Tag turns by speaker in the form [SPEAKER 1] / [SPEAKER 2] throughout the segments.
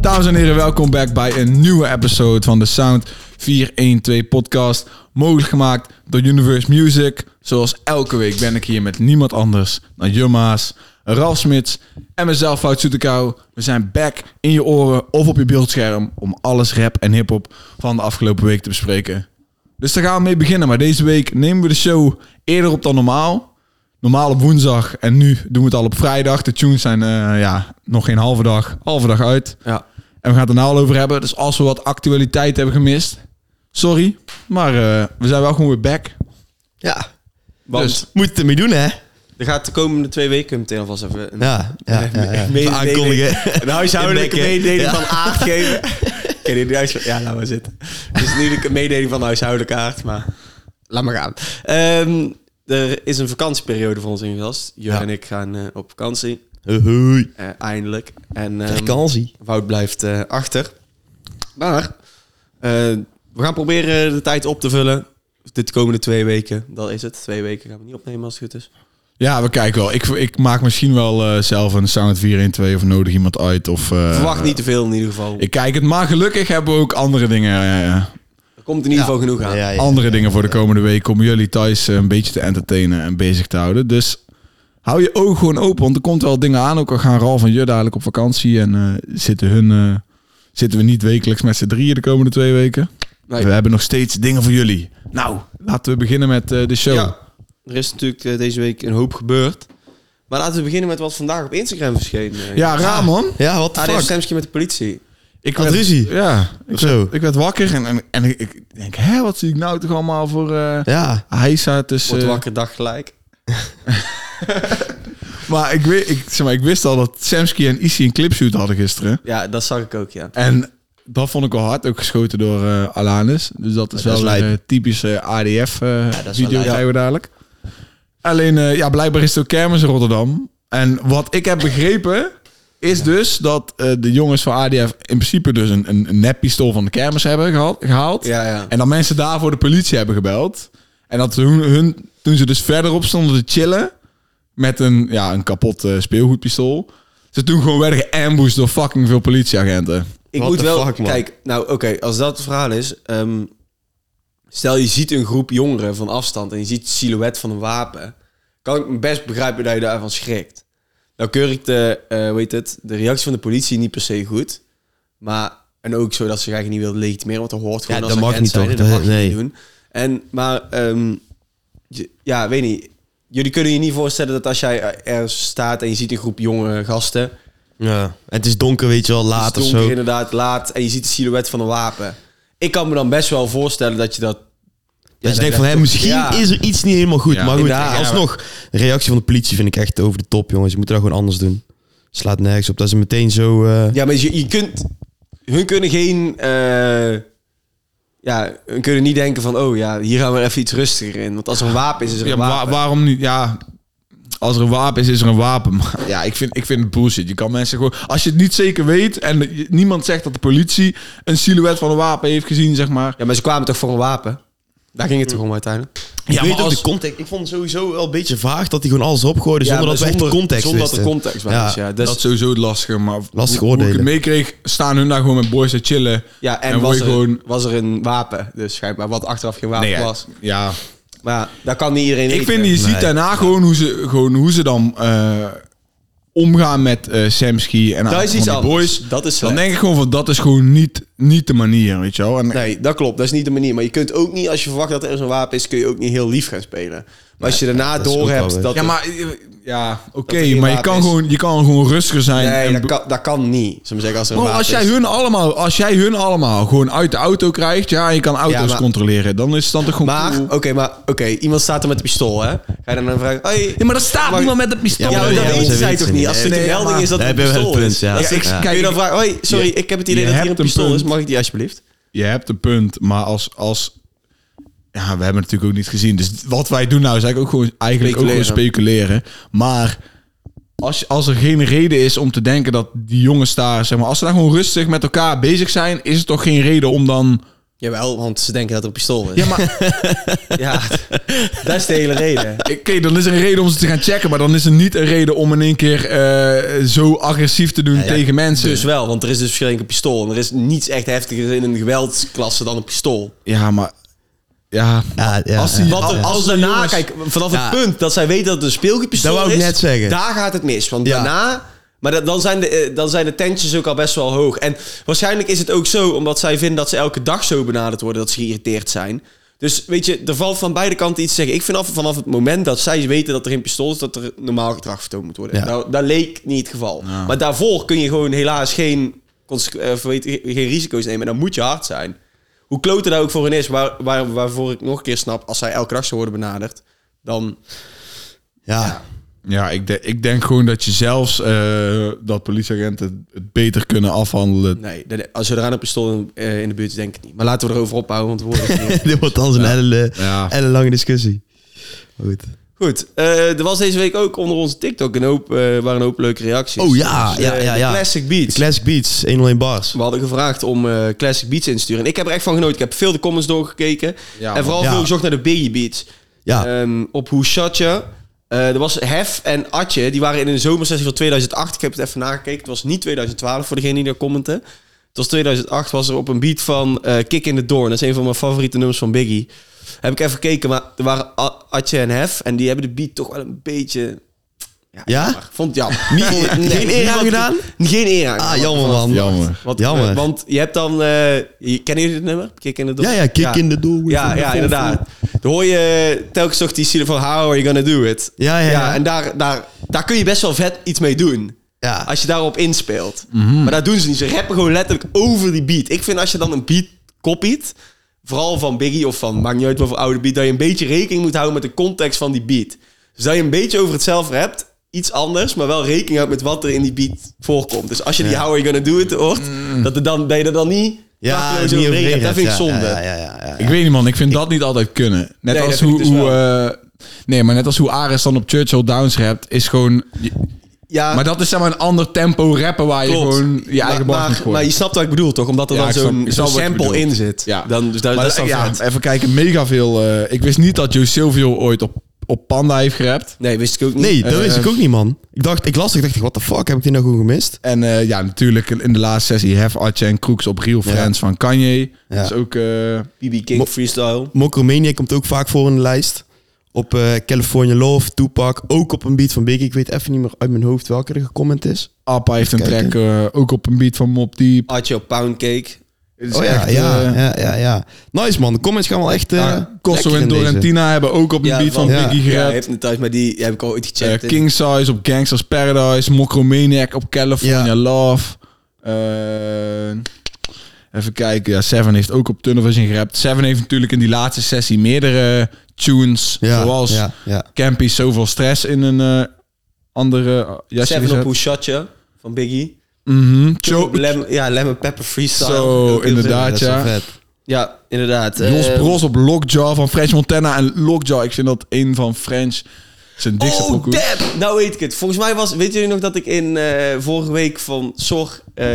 [SPEAKER 1] Dames en heren, welkom back bij een nieuwe episode van de Sound 412 podcast. Mogelijk gemaakt door Universe Music. Zoals elke week ben ik hier met niemand anders dan Jumma's, Ralf Smits en mezelf, Fout Soetekou. We zijn back in je oren of op je beeldscherm om alles rap en hiphop van de afgelopen week te bespreken. Dus daar gaan we mee beginnen. Maar deze week nemen we de show eerder op dan normaal. Normaal op woensdag en nu doen we het al op vrijdag. De tunes zijn eh, ja, nog geen halve dag, halve dag uit.
[SPEAKER 2] Ja.
[SPEAKER 1] En we gaan het er nou al over hebben. Dus als we wat actualiteit hebben gemist, sorry. Maar eh, we zijn wel gewoon weer back.
[SPEAKER 3] Ja,
[SPEAKER 2] Want
[SPEAKER 1] Dus-
[SPEAKER 3] moet het ermee doen, hè?
[SPEAKER 2] er gaat de komende twee weken meteen alvast even een
[SPEAKER 3] Ja, ja, ja. ja.
[SPEAKER 2] Mede-
[SPEAKER 3] Even aankondigen.
[SPEAKER 2] een huishoudelijke
[SPEAKER 3] Indekken.
[SPEAKER 2] mededeling
[SPEAKER 3] Ja.
[SPEAKER 2] van aard geven. Ken je die huisho- Ja, laat maar zitten. Het is natuurlijk een mededeling van de huishoudelijke aard, maar laat maar gaan. Ehm, er is een vakantieperiode voor ons ingevast. Jur
[SPEAKER 3] Ja.
[SPEAKER 2] en ik gaan eh, op vakantie,
[SPEAKER 3] Hoi.
[SPEAKER 2] eh, eindelijk. En ehm,
[SPEAKER 3] Vakantie.
[SPEAKER 2] Wout blijft eh, achter. Maar eh, we gaan proberen de tijd op te vullen. Dit komende twee weken, dat is het. Twee weken gaan we niet opnemen als het goed is.
[SPEAKER 1] Ja, we kijken wel. Ik, ik maak misschien wel eh, zelf een Sound 412 of nodig iemand uit. Of, eh,
[SPEAKER 2] Verwacht niet te veel in ieder geval.
[SPEAKER 1] Ik kijk het, maar gelukkig hebben we ook andere dingen, eh,
[SPEAKER 2] Er komt in ieder geval genoeg aan.
[SPEAKER 3] Ja, ja.
[SPEAKER 1] andere dingen voor de komende week om jullie thuis eh, een beetje te entertainen en bezig te houden. Dus hou je ogen gewoon open, want er komt wel dingen aan. Ook al gaan Ralf en Jur dadelijk op vakantie en eh, zitten, hun, eh, zitten we niet wekelijks met z'n drieën de komende twee weken.
[SPEAKER 2] Nee.
[SPEAKER 1] We hebben nog steeds dingen voor jullie. Nou, laten we beginnen met eh, de show.
[SPEAKER 2] Ja. Er is natuurlijk eh, deze week een hoop gebeurd. Maar laten we beginnen met wat vandaag op Instagram verscheen. eh.
[SPEAKER 1] Ja, raar man.
[SPEAKER 3] Ja, wat de
[SPEAKER 2] Ah, dit is een
[SPEAKER 3] fuck?
[SPEAKER 2] stemsje met de politie.
[SPEAKER 1] Ik
[SPEAKER 3] Had ruzie?
[SPEAKER 1] Ja, ik,
[SPEAKER 3] Of zo?
[SPEAKER 1] ik werd wakker en, en, en ik, ik denk, hè, wat zie ik nou toch allemaal voor eh
[SPEAKER 3] Ja.
[SPEAKER 1] heisa tussen...
[SPEAKER 2] Wordt wakker dag gelijk.
[SPEAKER 1] Maar ik, weet, ik, zeg maar ik wist al dat Samsky en Issy een clipshoot hadden gisteren.
[SPEAKER 2] Ja, dat zag ik ook, ja.
[SPEAKER 1] En dat vond ik wel hard, ook geschoten door eh, Alanis. Dus dat is
[SPEAKER 3] Dat is
[SPEAKER 1] wel een
[SPEAKER 3] lijp.
[SPEAKER 1] eh, typische
[SPEAKER 3] dat is wel
[SPEAKER 1] ADF-video,
[SPEAKER 3] lijp.
[SPEAKER 1] eh, krijgen we dadelijk. Alleen, eh, ja, blijkbaar is het ook kermis in Rotterdam. En wat ik heb begrepen, is dus dat eh, de jongens van ADF in principe dus een, een, een neppistool van de kermis hebben gehaald. gehaald.
[SPEAKER 2] Ja, ja.
[SPEAKER 1] En dat mensen daarvoor de politie hebben gebeld. En dat toen, hun, toen ze dus verderop stonden te chillen met een, ja, een kapot eh, speelgoedpistool. Ze toen gewoon werden geambushed door fucking veel politieagenten.
[SPEAKER 2] Ik
[SPEAKER 3] What
[SPEAKER 2] moet
[SPEAKER 3] the
[SPEAKER 2] wel...
[SPEAKER 3] fuck, man.
[SPEAKER 2] kijk, nou oké, als dat het verhaal is... ehm, stel, je ziet een groep jongeren van afstand en je ziet de silhouet van een wapen. Kan ik me best begrijpen dat je daarvan schrikt. Nou keur ik de, eh, hoe heet het, de reactie van de politie niet per se goed. Maar, en ook zo dat ze zich eigenlijk niet wilden legitimeren, want dat hoort gewoon
[SPEAKER 3] Ja,
[SPEAKER 2] als
[SPEAKER 3] dat mag
[SPEAKER 2] agent
[SPEAKER 3] niet,
[SPEAKER 2] zijn,
[SPEAKER 3] toch?
[SPEAKER 2] Dat
[SPEAKER 3] Dat-
[SPEAKER 2] mag je
[SPEAKER 3] nee.
[SPEAKER 2] niet doen. En, maar, ehm, je- ja, weet niet. Jullie kunnen je niet voorstellen dat als jij er staat en je ziet een groep jonge gasten...
[SPEAKER 3] Ja. En Het is donker, weet je wel, laat
[SPEAKER 2] Het
[SPEAKER 3] of
[SPEAKER 2] is donker
[SPEAKER 3] zo.
[SPEAKER 2] inderdaad, laat. En je ziet de silhouet van een wapen. Ik kan me dan best wel voorstellen dat je dat...
[SPEAKER 3] Dat je
[SPEAKER 2] dat-
[SPEAKER 3] denkt van,
[SPEAKER 2] dat-
[SPEAKER 3] hè, misschien
[SPEAKER 2] ja.
[SPEAKER 3] is er iets niet helemaal goed.
[SPEAKER 1] Ja,
[SPEAKER 3] maar goed,
[SPEAKER 2] inderdaad.
[SPEAKER 3] alsnog. De reactie van de politie vind ik echt over de top, jongens. Je moet dat gewoon anders doen. Slaat nergens op. Dat ze meteen zo... eh,
[SPEAKER 2] Ja, maar je, je kunt... Hun kunnen geen... eh, ja, hun kunnen niet denken van... Oh ja, hier gaan we even iets rustiger in. Want als er een wapen is, is er
[SPEAKER 1] Ja,
[SPEAKER 2] een
[SPEAKER 1] wa-
[SPEAKER 2] wapen.
[SPEAKER 1] waarom niet? Ja, als er een wapen is, is er een wapen. Maar ja, ik vind, ik vind het bullshit. Je kan mensen gewoon... Als je het niet zeker weet en je- niemand zegt dat de politie een silhouet van een wapen heeft gezien, zeg maar.
[SPEAKER 2] ja, maar ze kwamen toch voor een wapen? Daar ging het toch om uiteindelijk?
[SPEAKER 3] ik
[SPEAKER 1] Ja,
[SPEAKER 3] weet
[SPEAKER 1] maar
[SPEAKER 3] ook
[SPEAKER 1] als-
[SPEAKER 3] de context. Ik vond het sowieso wel een beetje vaag dat hij gewoon alles erop gooide
[SPEAKER 2] Ja,
[SPEAKER 3] zonder
[SPEAKER 2] maar
[SPEAKER 3] dat we echt de context
[SPEAKER 2] Zonder dat
[SPEAKER 3] wisten.
[SPEAKER 2] de context was, ja.
[SPEAKER 3] Ja,
[SPEAKER 2] dus,
[SPEAKER 1] dat is sowieso het lastige, maar
[SPEAKER 3] Lastig
[SPEAKER 1] hoe, hoe ik het
[SPEAKER 3] oordelen.
[SPEAKER 1] meekreeg, staan hun daar gewoon met boys te chillen.
[SPEAKER 2] ja en
[SPEAKER 1] en word
[SPEAKER 2] was
[SPEAKER 1] je
[SPEAKER 2] er,
[SPEAKER 1] gewoon-
[SPEAKER 2] was er een wapen, dus schijnbaar. Wat achteraf geen wapen
[SPEAKER 1] Nee, ja,
[SPEAKER 2] was.
[SPEAKER 1] ja,
[SPEAKER 2] Maar ja, dat kan niet iedereen
[SPEAKER 1] Ik
[SPEAKER 2] weten.
[SPEAKER 1] vind, je ziet
[SPEAKER 3] Nee.
[SPEAKER 1] daarna gewoon, hoe ze, gewoon hoe ze dan eh, omgaan met eh Samsky en
[SPEAKER 2] Dat
[SPEAKER 1] aan-
[SPEAKER 2] is
[SPEAKER 1] van
[SPEAKER 2] iets
[SPEAKER 1] die
[SPEAKER 2] anders.
[SPEAKER 1] boys.
[SPEAKER 2] Dat is
[SPEAKER 1] Dan
[SPEAKER 2] slecht.
[SPEAKER 1] denk ik gewoon van, dat is gewoon niet, niet de manier, weet je wel. En,
[SPEAKER 2] Nee, dat klopt. Dat is niet de manier. Maar je kunt ook niet, als je verwacht dat er zo'n wapen is, kun je ook niet heel lief gaan spelen. Maar als je daarna
[SPEAKER 3] is ook
[SPEAKER 2] door
[SPEAKER 3] wel
[SPEAKER 2] hebt
[SPEAKER 3] weer.
[SPEAKER 2] dat.
[SPEAKER 1] ja,
[SPEAKER 2] er-
[SPEAKER 1] maar eh, ja, oké,
[SPEAKER 2] er geen
[SPEAKER 1] maar je
[SPEAKER 2] wapen
[SPEAKER 1] kan,
[SPEAKER 2] is.
[SPEAKER 1] gewoon, je kan gewoon rustiger zijn.
[SPEAKER 2] nee,
[SPEAKER 1] en
[SPEAKER 2] dat kan, dat kan niet. Zullen we zeggen, als er een
[SPEAKER 1] Bro,
[SPEAKER 2] wapen
[SPEAKER 1] als jij,
[SPEAKER 2] is.
[SPEAKER 1] hun allemaal, als jij hun allemaal gewoon uit de auto krijgt, ja, en je kan auto's
[SPEAKER 2] Ja, maar-
[SPEAKER 1] controleren. Dan is het dan toch gewoon
[SPEAKER 2] Maar,
[SPEAKER 1] cool.
[SPEAKER 2] oké, maar, oké, iemand staat er met een pistool, hè? Ga je dan dan vragen, hey,
[SPEAKER 1] Ja, maar dat staat
[SPEAKER 2] Mag-
[SPEAKER 1] niemand met een pistool.
[SPEAKER 2] ja, maar
[SPEAKER 3] maar
[SPEAKER 2] dat
[SPEAKER 3] dat
[SPEAKER 2] weten
[SPEAKER 3] weten
[SPEAKER 2] zij
[SPEAKER 3] ze
[SPEAKER 2] toch
[SPEAKER 3] niet.
[SPEAKER 2] niet? Als het
[SPEAKER 1] Nee,
[SPEAKER 2] een melding
[SPEAKER 1] maar-
[SPEAKER 2] is dat
[SPEAKER 3] Daar
[SPEAKER 2] het een
[SPEAKER 3] heb je wel
[SPEAKER 2] pistool
[SPEAKER 3] het
[SPEAKER 2] is.
[SPEAKER 3] punt, ja.
[SPEAKER 2] Dat
[SPEAKER 3] Ja,
[SPEAKER 2] is-
[SPEAKER 3] ik-
[SPEAKER 2] kun je dan
[SPEAKER 1] kijk,
[SPEAKER 2] vragen, hoi, sorry,
[SPEAKER 1] je-
[SPEAKER 2] ik heb het idee
[SPEAKER 1] je
[SPEAKER 2] dat hier een
[SPEAKER 1] hebt een
[SPEAKER 2] pistool is.
[SPEAKER 1] punt.
[SPEAKER 2] Mag ik die alsjeblieft?
[SPEAKER 1] Je hebt een punt, maar als... als ja, we hebben het natuurlijk ook niet gezien. Dus wat wij doen nou is eigenlijk ook gewoon, eigenlijk ook gewoon speculeren. Maar als, als er geen reden is om te denken dat die jongens daar... Zeg maar, als ze daar gewoon rustig met elkaar bezig zijn... is er toch geen reden om dan
[SPEAKER 2] Jawel, want ze denken dat er een pistool is.
[SPEAKER 1] Ja,
[SPEAKER 2] Ja,
[SPEAKER 1] maar
[SPEAKER 2] dat is de hele reden.
[SPEAKER 1] oké, dan is er een reden om ze te gaan checken. Maar dan is er niet een reden om in één keer eh, zo agressief te doen tegen mensen.
[SPEAKER 2] Dus wel, want er is dus waarschijnlijk een pistool. En er is niets echt heftiger in een geweldsklasse dan een pistool.
[SPEAKER 1] ja, maar... Ja,
[SPEAKER 3] Ja, ja,
[SPEAKER 1] Als
[SPEAKER 3] ja,
[SPEAKER 1] die-
[SPEAKER 2] Wat
[SPEAKER 1] Ja.
[SPEAKER 2] er,
[SPEAKER 1] Als
[SPEAKER 2] als
[SPEAKER 1] die
[SPEAKER 2] daarna,
[SPEAKER 1] jongens-
[SPEAKER 2] kijk, vanaf
[SPEAKER 3] Ja.
[SPEAKER 2] het punt dat zij weten dat het een speelgoedpistool
[SPEAKER 3] Dat wou ik
[SPEAKER 2] is...
[SPEAKER 3] net zeggen.
[SPEAKER 2] Daar gaat het mis. Want
[SPEAKER 3] Ja.
[SPEAKER 2] daarna... Maar dat- dan zijn, de, eh, dan zijn de tentjes ook al best wel hoog. En waarschijnlijk is het ook zo, omdat zij vinden dat ze elke dag zo benaderd worden... dat ze geïrriteerd zijn. Dus weet je, er valt van beide kanten iets te zeggen. Ik vind af, vanaf het moment dat zij weten dat er een pistool is... dat er normaal gedrag vertoond moet worden.
[SPEAKER 3] Ja.
[SPEAKER 2] Nou, dat leek niet het geval. Maar daarvoor kun je gewoon helaas geen, conse- eh, weet- geen risico's nemen. En dan moet je hard zijn. Hoe klote dat ook voor hen is, waar, waar, waarvoor ik nog een keer snap... als zij elke dag zou worden benaderd, dan...
[SPEAKER 3] ja.
[SPEAKER 1] Ja, ik, de- ik denk gewoon dat je zelfs eh, dat politieagenten het beter kunnen afhandelen.
[SPEAKER 2] Nee, dat- als je eraan een pistool in, eh, in de buurt is, denk ik niet. Maar laten we erover ophouden, want we worden het niet.
[SPEAKER 3] Dit wordt anders een hele,
[SPEAKER 1] Ja.
[SPEAKER 3] hele lange discussie. Maar Goed.
[SPEAKER 2] Goed, eh, er was deze week ook onder onze TikTok een hoop, eh, waren een hoop leuke reacties.
[SPEAKER 3] Oh ja,
[SPEAKER 2] eh,
[SPEAKER 3] ja, ja,
[SPEAKER 2] de
[SPEAKER 3] ja.
[SPEAKER 2] Classic Beats.
[SPEAKER 3] Classic Beats, 101 bars.
[SPEAKER 2] we hadden gevraagd om eh, Classic Beats in te sturen. En ik heb er echt van genoten. Ik heb veel de comments doorgekeken.
[SPEAKER 1] Ja,
[SPEAKER 2] en vooral
[SPEAKER 3] man.
[SPEAKER 2] veel
[SPEAKER 3] Ja.
[SPEAKER 2] gezocht naar de Biggie Beats.
[SPEAKER 3] Ja.
[SPEAKER 2] Ehm, op hoe shot je. Eh, er was Hef en Atje, die waren in een zomersessie van 2008. Ik heb het even nagekeken. Het was niet 2012 voor degene die daar commenten. Het was 2008, was er op een beat van eh, Kick in the Door. Dat is een van mijn favoriete nummers van Biggie. Heb ik even gekeken, maar er waren A- Atje en Hef. En die hebben de beat toch wel een beetje...
[SPEAKER 3] Ja?
[SPEAKER 2] jammer. Vond het jammer. Nee,
[SPEAKER 3] Niet- geen eer
[SPEAKER 2] niemand-
[SPEAKER 3] aan gedaan?
[SPEAKER 2] Geen eer aan
[SPEAKER 3] Ah,
[SPEAKER 2] gedaan.
[SPEAKER 3] jammer man.
[SPEAKER 1] Jammer.
[SPEAKER 2] Wat,
[SPEAKER 3] Jammer.
[SPEAKER 2] eh, want je hebt dan... eh, je- kennen jullie dit nummer? Kick in the Door?
[SPEAKER 3] ja, ja, kick in the door.
[SPEAKER 2] Ja, ja, inderdaad. Dan hoor je telkens toch die zin van how are you gonna do it?
[SPEAKER 3] Ja, ja, ja.
[SPEAKER 2] en daar, daar, daar kun je best wel vet iets mee doen.
[SPEAKER 3] Ja.
[SPEAKER 2] Als je daarop inspeelt. Maar dat doen ze niet. Ze rappen gewoon letterlijk over die beat. Ik vind als je dan een beat kopiet, vooral van Biggie of van, maakt niet uit wat voor oude beat, dat je een beetje rekening moet houden met de context van die beat. Dus dat je een beetje over hetzelfde hebt, iets anders, maar wel rekening houdt met wat er in die beat voorkomt. Dus als je die how are you gonna do it hoort, dat, er dan, dat je er dan niet...
[SPEAKER 3] Ja,
[SPEAKER 2] krachteloos
[SPEAKER 3] niet
[SPEAKER 2] overheen
[SPEAKER 3] overheen
[SPEAKER 2] gaat.
[SPEAKER 3] hebt,
[SPEAKER 2] Dat vind ik
[SPEAKER 3] ja,
[SPEAKER 2] zonde.
[SPEAKER 3] Ja, ja, ja, ja,
[SPEAKER 1] Ik weet niet, man. Ik vind dat niet altijd kunnen. Net
[SPEAKER 2] Nee,
[SPEAKER 1] als
[SPEAKER 2] dat vind
[SPEAKER 1] hoe...
[SPEAKER 2] ik dus
[SPEAKER 1] hoe eh, nee, maar net als hoe Ares dan op Churchill Downs rapt, is gewoon... je-
[SPEAKER 2] Ja.
[SPEAKER 1] Maar dat is zeg maar een ander tempo rappen waar je
[SPEAKER 2] Ah. Klopt.
[SPEAKER 1] gewoon je eigen
[SPEAKER 2] maar,
[SPEAKER 1] bar moet
[SPEAKER 2] maar,
[SPEAKER 1] gooien.
[SPEAKER 2] maar je snapt wat ik bedoel, toch? Omdat er
[SPEAKER 1] Ja,
[SPEAKER 2] dan
[SPEAKER 1] ik snap-
[SPEAKER 2] zo'n
[SPEAKER 1] ik
[SPEAKER 2] zo'n
[SPEAKER 1] snap wat je
[SPEAKER 2] sample
[SPEAKER 1] bedoelt.
[SPEAKER 2] in zit.
[SPEAKER 1] Ja.
[SPEAKER 2] Dan, dus dat,
[SPEAKER 1] Maar
[SPEAKER 2] dat is
[SPEAKER 1] dat-
[SPEAKER 2] dan
[SPEAKER 1] ja,
[SPEAKER 2] vet.
[SPEAKER 1] even kijken, mega veel... eh, ik wist niet dat Joe Silvio ooit op, op Panda heeft gerapt.
[SPEAKER 2] Nee, wist ik ook niet.
[SPEAKER 3] Nee, dat
[SPEAKER 1] Eh,
[SPEAKER 3] wist ik ook niet, man. Ik dacht, ik las, ik dacht, what the fuck, heb ik dit nou gewoon gemist?
[SPEAKER 1] En eh, ja, natuurlijk in de laatste sessie Hef, Atje en Kroeks op Real Friends van Kanye. Dat is ook... eh,
[SPEAKER 2] BB King
[SPEAKER 3] Mo-
[SPEAKER 2] freestyle.
[SPEAKER 3] Mokromania komt ook vaak voor in de lijst. Op eh, California Love, Tupac, ook op een beat van Biggie. Ik weet even niet meer uit mijn hoofd welke er gecomment is.
[SPEAKER 1] Appa heeft een
[SPEAKER 3] Even
[SPEAKER 1] track eh, ook op een beat van Mob Deep.
[SPEAKER 2] Atje op Poundcake.
[SPEAKER 1] Het is
[SPEAKER 3] Oh ja,
[SPEAKER 1] echt,
[SPEAKER 3] ja,
[SPEAKER 1] eh,
[SPEAKER 3] ja, ja, ja. Nice man, de comments gaan wel echt... eh
[SPEAKER 1] ja, Kosso
[SPEAKER 3] lekker
[SPEAKER 1] en
[SPEAKER 3] in deze.
[SPEAKER 1] Dorentina hebben ook op een beat van
[SPEAKER 3] ja.
[SPEAKER 1] Biggie
[SPEAKER 2] Ja,
[SPEAKER 1] gerapt.
[SPEAKER 2] heeft het thuis, maar die, die heb ik al ooit
[SPEAKER 1] Eh,
[SPEAKER 2] gecheckt.
[SPEAKER 1] King Size op Gangsters Paradise. Mokromaniac op California
[SPEAKER 3] Ja.
[SPEAKER 1] Love. Eh, even kijken. Ja, Seven heeft ook op Tunnel Vision gerapt. Seven heeft natuurlijk in die laatste sessie meerdere tunes.
[SPEAKER 3] Ja,
[SPEAKER 1] zoals
[SPEAKER 3] ja, ja.
[SPEAKER 1] Campy Zoveel Stress in een eh, andere eh, jasje
[SPEAKER 2] Seven op
[SPEAKER 1] gezet.
[SPEAKER 2] Hoe Shot Je van Biggie.
[SPEAKER 1] Mhm. Cho-
[SPEAKER 2] Lemon, ja, Lemon Pepper freestyle.
[SPEAKER 1] Zo,
[SPEAKER 2] Ook heel
[SPEAKER 1] inderdaad.
[SPEAKER 3] Dat is wel
[SPEAKER 1] ja.
[SPEAKER 3] vet.
[SPEAKER 2] vet. Ja, inderdaad.
[SPEAKER 1] Jos
[SPEAKER 2] Eh,
[SPEAKER 1] Bros op Lockjaw van French Montana. En Lockjaw, ik vind dat een van French zijn dikste
[SPEAKER 2] Oh,
[SPEAKER 1] pokoe.
[SPEAKER 2] damn! Nou weet ik het. Volgens mij was... Weet jullie nog dat ik in eh, vorige week van Zorg... eh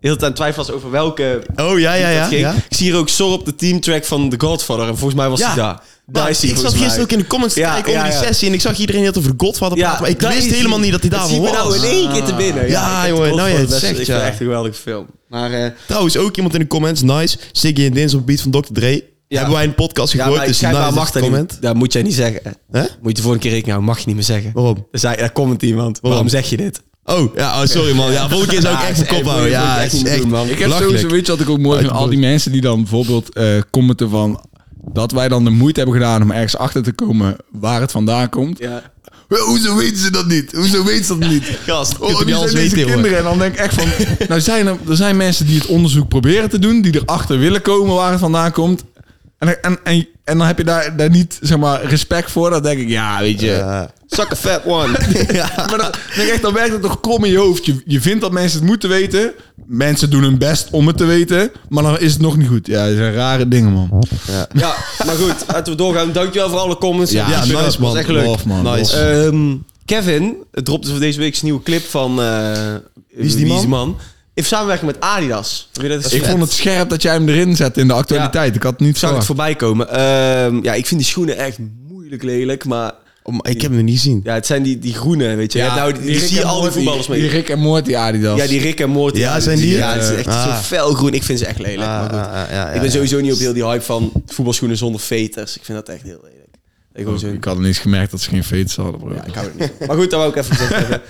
[SPEAKER 2] heel de tijd twijfel was over welke
[SPEAKER 3] Oh ja, ja, ja.
[SPEAKER 2] Dat ging.
[SPEAKER 3] ja.
[SPEAKER 2] Ik zie hier ook Sor op de teamtrack van The Godfather. En volgens mij was
[SPEAKER 3] Ja.
[SPEAKER 2] hij daar. Daar
[SPEAKER 3] Maar
[SPEAKER 2] is hij
[SPEAKER 3] ik zat
[SPEAKER 2] volgens mij.
[SPEAKER 3] gisteren ook in de comments te
[SPEAKER 2] Ja,
[SPEAKER 3] kijken onder
[SPEAKER 2] ja,
[SPEAKER 3] die
[SPEAKER 2] ja.
[SPEAKER 3] sessie en ik zag iedereen heel over Godfather praten, maar ik
[SPEAKER 2] daar
[SPEAKER 3] wist
[SPEAKER 2] is
[SPEAKER 3] helemaal niet dat hij
[SPEAKER 2] Dat
[SPEAKER 3] daarvan
[SPEAKER 2] zie
[SPEAKER 3] was.
[SPEAKER 2] ik me nou in één keer te binnen.
[SPEAKER 3] Ja,
[SPEAKER 2] ik heb
[SPEAKER 3] jongen,
[SPEAKER 2] The
[SPEAKER 3] nou ja,
[SPEAKER 2] Godfather
[SPEAKER 3] het
[SPEAKER 2] best-
[SPEAKER 3] zegt,
[SPEAKER 2] Ik vind
[SPEAKER 3] ja.
[SPEAKER 2] het echt een geweldige film. Maar eh,
[SPEAKER 3] Trouwens, ook iemand in de comments, nice. Ziggy en Dins op beat van Dr. Dre.
[SPEAKER 2] Ja.
[SPEAKER 3] Hebben wij een podcast
[SPEAKER 2] ja,
[SPEAKER 3] gegooid,
[SPEAKER 2] maar
[SPEAKER 3] dus
[SPEAKER 2] schijnbaar
[SPEAKER 3] nice dat
[SPEAKER 2] mag
[SPEAKER 3] je
[SPEAKER 2] dat
[SPEAKER 3] comment.
[SPEAKER 2] niet. Dat moet jij niet zeggen.
[SPEAKER 3] Hè? Oh.
[SPEAKER 2] Moet je de vorige keer rekening houden. Mag je niet meer zeggen.
[SPEAKER 3] Waarom?
[SPEAKER 2] Er zei- Daar komt iemand. Waarom zeg je dit?
[SPEAKER 3] Oh, ja, oh, sorry man. Ja, volgende keer zou ik
[SPEAKER 2] Ja,
[SPEAKER 3] echt
[SPEAKER 2] is-
[SPEAKER 3] mijn kop
[SPEAKER 2] eh,
[SPEAKER 3] houden.
[SPEAKER 2] moet je- moet
[SPEAKER 3] Ja,
[SPEAKER 2] je
[SPEAKER 3] het
[SPEAKER 2] echt
[SPEAKER 3] is
[SPEAKER 2] niet
[SPEAKER 3] echt
[SPEAKER 2] doen, man.
[SPEAKER 1] Ik heb
[SPEAKER 3] belachelijk.
[SPEAKER 1] sowieso, weet je wat ik ook mooi vind? Al die mensen die dan bijvoorbeeld eh, commenten van... Dat wij dan de moeite hebben gedaan om ergens achter te komen waar het vandaan komt.
[SPEAKER 2] Ja.
[SPEAKER 1] Wel, Hoezo weten ze dat niet? Hoezo weten ze dat niet?
[SPEAKER 3] Gast,
[SPEAKER 1] Oh,
[SPEAKER 3] kunt
[SPEAKER 1] nu
[SPEAKER 3] niet
[SPEAKER 1] zijn
[SPEAKER 3] alles
[SPEAKER 1] deze
[SPEAKER 3] weten, jongen.
[SPEAKER 1] kinderen en dan denk ik echt van... Nou, zijn er, er zijn mensen die het onderzoek proberen te doen. Die erachter willen komen waar het vandaan komt. En, en, en, en dan heb je daar, daar niet, zeg maar, respect voor. Dan denk ik, ja, weet je...
[SPEAKER 3] Ja.
[SPEAKER 2] Suck a fat one.
[SPEAKER 1] Maar dan, dan, echt, dan werkt het toch krom in je hoofd. Je, je vindt dat mensen het moeten weten. Mensen doen hun best om het te weten. Maar dan is het nog niet goed. Ja, dat zijn rare dingen, man.
[SPEAKER 2] ja, maar goed. Laten we doorgaan. Dankjewel voor alle comments.
[SPEAKER 1] Ja,
[SPEAKER 3] Ja,
[SPEAKER 2] Ik vind
[SPEAKER 3] nice
[SPEAKER 2] dat-
[SPEAKER 3] man.
[SPEAKER 2] was echt leuk.
[SPEAKER 1] Love, man.
[SPEAKER 3] Nice.
[SPEAKER 1] Love.
[SPEAKER 2] Ehm, Kevin dropte voor deze week zijn nieuwe clip van... eh, Wie
[SPEAKER 3] is die man?
[SPEAKER 2] man? In samenwerking met Adidas. Wil je dat eens
[SPEAKER 1] Ik
[SPEAKER 2] vet?
[SPEAKER 1] vond het Oh. scherp dat jij hem erin zette in de actualiteit. Ik had het niet
[SPEAKER 2] Ik zag het
[SPEAKER 1] verwacht.
[SPEAKER 2] voorbij komen. Ehm, ja, ik vind die schoenen echt moeilijk lelijk, maar
[SPEAKER 3] Oh, maar ik heb hem niet gezien.
[SPEAKER 2] ja, het zijn die, die groene, weet je. Ja, nou, die, die
[SPEAKER 1] Rick
[SPEAKER 2] zie je
[SPEAKER 1] en
[SPEAKER 2] al die
[SPEAKER 1] Morty-
[SPEAKER 2] voetballers mee.
[SPEAKER 1] Die Rick en Morty Adidas.
[SPEAKER 2] ja, die Rick en Morty.
[SPEAKER 3] Ja, zijn die?
[SPEAKER 2] Ja, het is echt
[SPEAKER 3] Ah.
[SPEAKER 2] zo felgroen. Ik vind ze echt lelijk. maar goed. ik ben sowieso niet op heel die hype van voetbalschoenen zonder veters. Ik vind dat echt heel lelijk. Ik, gewoon zo,
[SPEAKER 1] Oh, Ik had niet eens gemerkt dat ze geen fates hadden, bro.
[SPEAKER 2] ja,
[SPEAKER 1] Ja,
[SPEAKER 2] ik hou het niet. van. Maar goed, dat wou ik even gezegd hebben.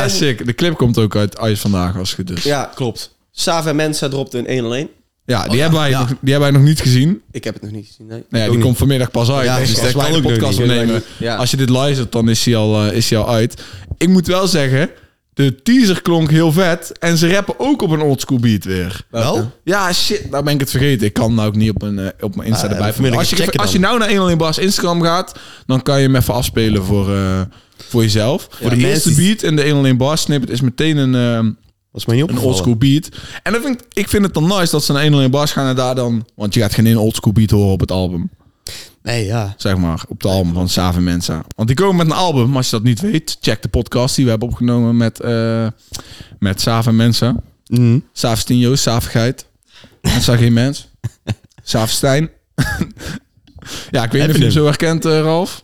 [SPEAKER 2] En-
[SPEAKER 1] sick. De clip komt ook uit IJs vandaag, als het goed is. Ja,
[SPEAKER 2] Ja, klopt. Save en Mensa dropte een 1-1.
[SPEAKER 1] die, hebben wij nog, die hebben wij nog niet gezien.
[SPEAKER 2] Ik heb het nog niet gezien, nee.
[SPEAKER 1] Nee, die
[SPEAKER 3] niet.
[SPEAKER 1] komt vanmiddag pas uit.
[SPEAKER 3] Ja,
[SPEAKER 1] Dus
[SPEAKER 3] precies,
[SPEAKER 1] als
[SPEAKER 3] dat
[SPEAKER 1] wij
[SPEAKER 3] kan
[SPEAKER 1] de
[SPEAKER 3] ook nog
[SPEAKER 1] podcast
[SPEAKER 3] niet.
[SPEAKER 1] opnemen,
[SPEAKER 2] Ja.
[SPEAKER 1] als je dit luistert, dan is hij al, eh, is hij al uit. Ik moet wel zeggen, de teaser klonk heel vet. En ze rappen ook op een oldschool beat weer.
[SPEAKER 3] Wel?
[SPEAKER 1] Ja, shit, nou ben ik het vergeten. Ik kan nou ook niet op mijn, eh, op mijn Insta
[SPEAKER 3] Ah,
[SPEAKER 1] erbij
[SPEAKER 3] eh, vanmiddag
[SPEAKER 1] Als je,
[SPEAKER 3] checken
[SPEAKER 1] als je nou naar 101 Bars Instagram gaat, dan kan je hem even afspelen voor, eh, voor jezelf. Voor de
[SPEAKER 3] mensen
[SPEAKER 1] eerste
[SPEAKER 3] die-
[SPEAKER 1] beat en de 101 Bars snippet is meteen een, ehm,
[SPEAKER 3] Was mij niet
[SPEAKER 1] een
[SPEAKER 3] opgevallen.
[SPEAKER 1] oldschool beat. En dat vind ik, ik vind het dan nice dat ze naar 101 Bars gaan en daar dan... Want je gaat geen oldschool beat horen op het album,
[SPEAKER 3] Nee, ja.
[SPEAKER 1] zeg maar. Op het album van Save Mensa. Want die komen met een album, maar als je dat niet weet, check de podcast die we hebben opgenomen met, eh met Save Mensa.
[SPEAKER 3] Mhm.
[SPEAKER 1] Saaf Stinjo, Saaf Geit. Dat zag geen mens. Saaf Stijn. ja, ik weet niet of je
[SPEAKER 3] Eminem.
[SPEAKER 1] hem zo herkent, eh, Ralf.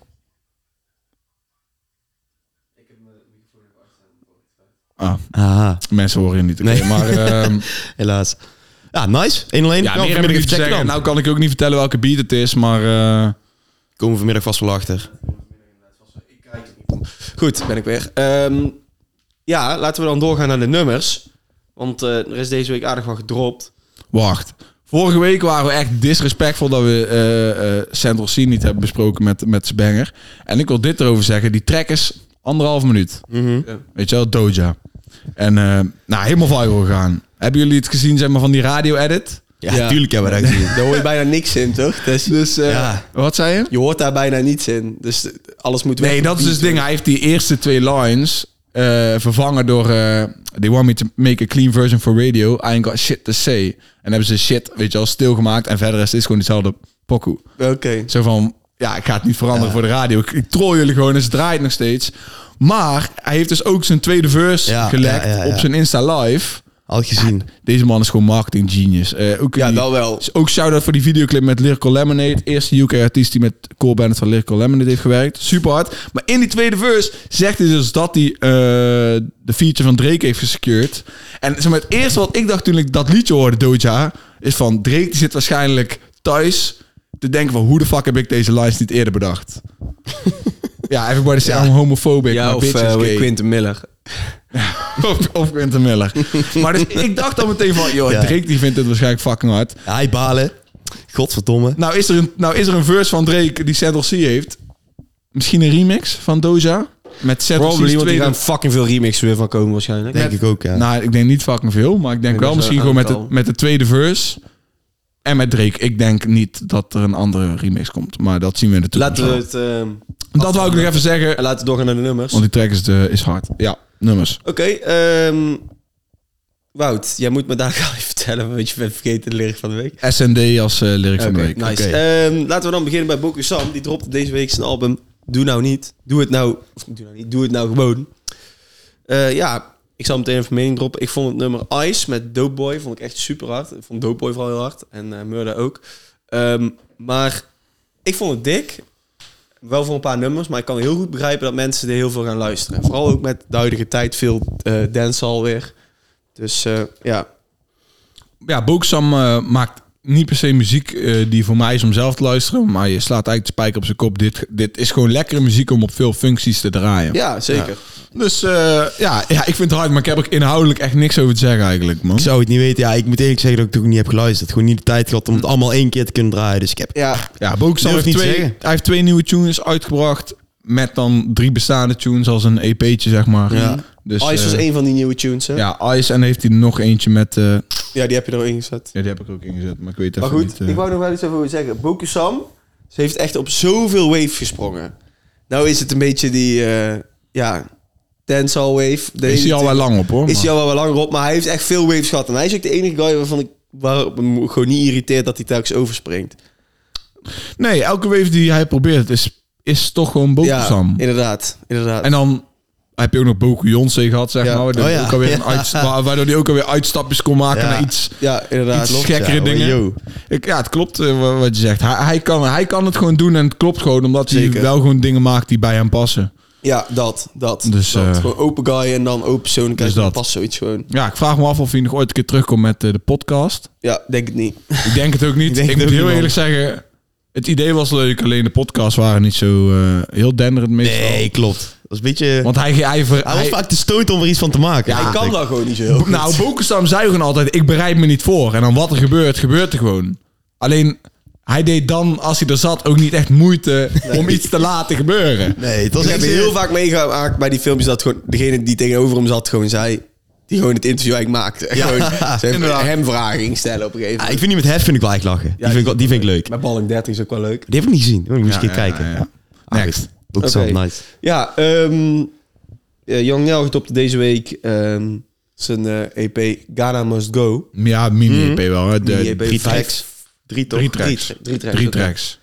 [SPEAKER 1] Ah,
[SPEAKER 3] Aha,
[SPEAKER 1] mensen horen je niet. oké.
[SPEAKER 3] Nee.
[SPEAKER 1] Maar ehm
[SPEAKER 3] helaas. Ja, nice. 1-1. Ja,
[SPEAKER 1] ja, meer heb ik
[SPEAKER 3] vanmiddag
[SPEAKER 1] niet
[SPEAKER 3] even
[SPEAKER 1] te
[SPEAKER 3] checken
[SPEAKER 1] zeggen.
[SPEAKER 3] dan.
[SPEAKER 1] Nou kan ik ook niet vertellen welke beat het is, maar... eh,
[SPEAKER 3] Komen we vanmiddag vast wel achter.
[SPEAKER 2] Goed, ben ik weer. Ehm, ja, laten we dan doorgaan naar de nummers. Want eh, er is deze week aardig wat gedropt.
[SPEAKER 1] Wacht. Vorige week waren we echt disrespectvol dat we eh, eh, Central C niet hebben besproken met, met Spanger. En ik wil dit erover zeggen. Die track is anderhalf minuut.
[SPEAKER 2] Ja.
[SPEAKER 1] Weet je wel, Doja. En eh, nou, helemaal viral gegaan. Hebben jullie het gezien zeg maar, van die radio-edit?
[SPEAKER 3] Ja, tuurlijk hebben we dat gezien.
[SPEAKER 2] Daar hoor je bijna niks in, toch? Dus, dus eh,
[SPEAKER 3] Ja.
[SPEAKER 1] Wat zei je?
[SPEAKER 2] je hoort daar bijna niets in. Dus eh, alles moet
[SPEAKER 1] Nee, dat is dus het ding. Hij heeft die eerste twee lines eh, vervangen door... eh They want me to make a clean version for radio. I ain't got shit to say. En hebben ze shit, weet je wel, stilgemaakt. En verder is het gewoon diezelfde pokoe.
[SPEAKER 2] Oké.
[SPEAKER 1] Zo van, ja, ik ga het niet veranderen voor de radio. Ik, ik trooi jullie gewoon en ze draait nog steeds. Maar hij heeft dus ook zijn tweede verse
[SPEAKER 3] Ja,
[SPEAKER 1] gelekt
[SPEAKER 3] ja, ja, ja.
[SPEAKER 1] op zijn Insta Live.
[SPEAKER 3] Al gezien.
[SPEAKER 1] Deze man is gewoon marketing genius. Eh, ook
[SPEAKER 2] Ja,
[SPEAKER 1] die-
[SPEAKER 2] dat wel.
[SPEAKER 1] Ook shout-out voor die videoclip met Lyrical Lemonade. Eerste UK-artiest die met Core Band van Lyrical Lemonade heeft gewerkt. Super hard. Maar in die tweede verse zegt hij dus dat hij eh, de feature van Drake heeft gesecured. En zeg maar, het eerste wat ik dacht toen ik dat liedje hoorde, Doja, is van Drake die zit waarschijnlijk thuis te denken van hoe de fuck heb ik deze lines niet eerder bedacht. ja, everybody say I'm homophobic.
[SPEAKER 2] Ja,
[SPEAKER 1] my
[SPEAKER 2] of
[SPEAKER 1] bitch is
[SPEAKER 2] eh,
[SPEAKER 1] gay.
[SPEAKER 2] Quinten Miller.
[SPEAKER 1] of, of Quentin Miller. maar dus ik dacht al meteen van, joh,
[SPEAKER 3] Ja.
[SPEAKER 1] Drake die vindt het waarschijnlijk fucking hard.
[SPEAKER 3] Ja, hij balen. Godverdomme.
[SPEAKER 1] Nou is er een, nou is er een verse van Drake die Central C heeft. Misschien een remix van Doja? Met Central C's
[SPEAKER 2] Probably, want
[SPEAKER 1] tweede...
[SPEAKER 2] die gaan fucking veel remixen weer van komen waarschijnlijk.
[SPEAKER 3] Denk ik ook, ja.
[SPEAKER 1] Nou, ik denk niet fucking veel, maar ik denk
[SPEAKER 2] Ik denk
[SPEAKER 1] wel
[SPEAKER 2] dat
[SPEAKER 1] misschien
[SPEAKER 2] ze
[SPEAKER 1] gewoon met
[SPEAKER 2] aantal.
[SPEAKER 1] de, met de tweede verse. En met Drake. Ik denk niet dat er een andere remix komt, maar dat zien we in de toekomst.
[SPEAKER 2] Laten we
[SPEAKER 1] wel.
[SPEAKER 2] het... ehm,
[SPEAKER 1] dat wou ik nog even zeggen,
[SPEAKER 2] en laten we doorgaan naar de nummers.
[SPEAKER 1] want die track is, de, is hard. Ja, nummers.
[SPEAKER 2] Oké, ehm, Wout, jij moet me daar gaan even vertellen, want je bent vergeten de lyric van de week.
[SPEAKER 1] SND als eh, lyric van de
[SPEAKER 2] Oké,
[SPEAKER 1] week.
[SPEAKER 2] Nice.
[SPEAKER 1] Oké.
[SPEAKER 2] Ehm, laten we dan beginnen bij Boku Sam. Die dropte deze week zijn album Doe Nou Niet. Doe het nou. Of doe nou niet. Doe het nou gewoon. Eh, ja, ik zal meteen even mening droppen. Ik vond het nummer Ice met Dope Boy vond ik echt super hard. Ik vond Dope Boy vooral heel hard. En eh Murda ook. Ehm, maar ik vond het dik. Wel voor een paar nummers, maar ik kan heel goed begrijpen dat mensen er heel veel gaan luisteren. Vooral ook met de huidige tijd veel eh dancehall weer. Dus eh, ja,
[SPEAKER 1] Ja, Booksam eh, maakt niet per se muziek eh, die voor mij is om zelf te luisteren. Maar je slaat eigenlijk de spijker op zijn kop. Dit, dit is gewoon lekkere muziek om op veel functies te draaien.
[SPEAKER 2] ja zeker.
[SPEAKER 1] Dus eh, ja, ja, ik vind het hard, maar ik heb er inhoudelijk echt niks over te zeggen eigenlijk, man.
[SPEAKER 3] Ik zou het niet weten. Ja, ik moet eerlijk zeggen dat ik toen niet heb geluisterd. Gewoon niet de tijd gehad om het allemaal één keer te kunnen draaien. Dus ik heb...
[SPEAKER 2] Ja,
[SPEAKER 1] Ja, Booksam
[SPEAKER 3] Durf
[SPEAKER 1] heeft,
[SPEAKER 3] niet te
[SPEAKER 1] twee,
[SPEAKER 3] zeggen.
[SPEAKER 1] hij heeft twee nieuwe tunes uitgebracht. Met dan drie bestaande tunes als een EP'tje, zeg maar.
[SPEAKER 3] Ja.
[SPEAKER 1] Dus,
[SPEAKER 2] Ice was
[SPEAKER 1] eh,
[SPEAKER 2] een van die nieuwe tunes, hè?
[SPEAKER 1] Ja, Ice en heeft hij nog eentje met... eh,
[SPEAKER 2] Ja, die heb je er al ingezet.
[SPEAKER 1] ja, die heb ik ook ingezet, maar ik weet
[SPEAKER 2] Maar
[SPEAKER 1] even
[SPEAKER 2] goed,
[SPEAKER 1] niet... eh.
[SPEAKER 2] ik wou nog wel iets over willen zeggen. Boku Sam, ze heeft echt op zoveel wave gesprongen. Nou is het een beetje die, eh ja, dancehall wave. De
[SPEAKER 1] is hij
[SPEAKER 2] ene-
[SPEAKER 1] al wel lang op, hoor.
[SPEAKER 2] Is
[SPEAKER 1] maar-
[SPEAKER 2] hij al wel langer op, maar hij heeft echt veel waves gehad. En hij is ook de enige guy waarvan ik waarop me gewoon niet irriteert dat hij telkens overspringt.
[SPEAKER 1] Nee, elke wave die hij probeert is, is toch gewoon Booksam.
[SPEAKER 2] Ja, inderdaad, inderdaad.
[SPEAKER 1] En dan heb je ook nog Boku Jonsé gehad, zeg
[SPEAKER 3] Ja.
[SPEAKER 1] maar. Waardoor
[SPEAKER 3] Oh,
[SPEAKER 1] die
[SPEAKER 3] ja.
[SPEAKER 1] ook alweer een
[SPEAKER 3] Ja.
[SPEAKER 1] uitst- wa- waardoor die ook alweer uitstapjes kon maken
[SPEAKER 3] Ja.
[SPEAKER 1] naar iets...
[SPEAKER 2] Ja, inderdaad.
[SPEAKER 1] Iets
[SPEAKER 3] klopt,
[SPEAKER 1] gekkere
[SPEAKER 3] ja.
[SPEAKER 1] dingen.
[SPEAKER 3] Yo.
[SPEAKER 1] Ik, ja, het klopt eh, wa- wat je zegt. Hij, hij, kan, hij kan het gewoon doen en het klopt gewoon. Omdat hij
[SPEAKER 2] Zeker.
[SPEAKER 1] wel gewoon dingen maakt die bij hem passen.
[SPEAKER 2] Ja, dat. Dat.
[SPEAKER 1] Dus,
[SPEAKER 2] dat.
[SPEAKER 1] eh,
[SPEAKER 2] gewoon open guy en dan open persoonlijkheid.
[SPEAKER 1] dus
[SPEAKER 2] dat
[SPEAKER 1] dat.
[SPEAKER 2] past zoiets gewoon.
[SPEAKER 1] Ja, ik vraag me af of hij nog ooit een keer terugkomt met eh, de podcast.
[SPEAKER 2] Ja, denk het niet.
[SPEAKER 1] Ik denk het ook
[SPEAKER 3] Ik
[SPEAKER 1] niet.
[SPEAKER 3] denk
[SPEAKER 1] ik moet
[SPEAKER 3] het ook
[SPEAKER 1] heel
[SPEAKER 3] niet,
[SPEAKER 1] eerlijk zeggen... Het idee was leuk, alleen de podcasts waren niet zo eh, heel denderend meestal.
[SPEAKER 3] Nee, klopt. Dat was een beetje...
[SPEAKER 1] Want hij, hij, ver-
[SPEAKER 3] hij was
[SPEAKER 1] hij-
[SPEAKER 3] vaak te stoot om er iets van te maken.
[SPEAKER 2] Hij kan dat gewoon niet zo heel
[SPEAKER 1] Bo-
[SPEAKER 2] goed.
[SPEAKER 1] Nou, Bokenstam zei gewoon altijd: ik bereid me niet voor. En dan wat er gebeurt, gebeurt er gewoon. Alleen hij deed dan, als hij er zat, ook niet echt moeite om iets te laten gebeuren.
[SPEAKER 3] Nee, het was
[SPEAKER 2] ik heb
[SPEAKER 3] echt
[SPEAKER 2] heel vaak meegemaakt bij die filmpjes dat gewoon degene die tegenover hem zat gewoon zei... Die gewoon het interview eigenlijk maakte.
[SPEAKER 3] Ja,
[SPEAKER 2] gewoon, ze
[SPEAKER 3] inderdaad.
[SPEAKER 2] even hem vragen ging stellen op een gegeven
[SPEAKER 3] Ja,
[SPEAKER 2] moment.
[SPEAKER 3] ik vind die met Hef vind ik wel echt lachen. die, vind ik, wel- die vind ik leuk.
[SPEAKER 2] Met Balling 30 is ook wel leuk.
[SPEAKER 3] Die heb ik niet gezien. Die moet ik misschien
[SPEAKER 1] Ja, ja,
[SPEAKER 3] kijken.
[SPEAKER 1] ja, ja.
[SPEAKER 3] Ah,
[SPEAKER 1] Next.
[SPEAKER 3] goed. Ook zo,
[SPEAKER 2] Oké.
[SPEAKER 3] nice.
[SPEAKER 2] Ja, ehm eh, Young Nel getopte deze week ehm, zijn eh, EP Ghana Must Go.
[SPEAKER 1] Ja,
[SPEAKER 3] Hm?
[SPEAKER 1] mini-EP wel. hè. De,
[SPEAKER 2] Mini-EP,
[SPEAKER 1] drie,
[SPEAKER 2] vijf-
[SPEAKER 1] tracks.
[SPEAKER 3] Drie E toch?
[SPEAKER 1] drie tracks.
[SPEAKER 2] Drie-
[SPEAKER 1] Drie,
[SPEAKER 2] drie tracks, oké.
[SPEAKER 1] tracks.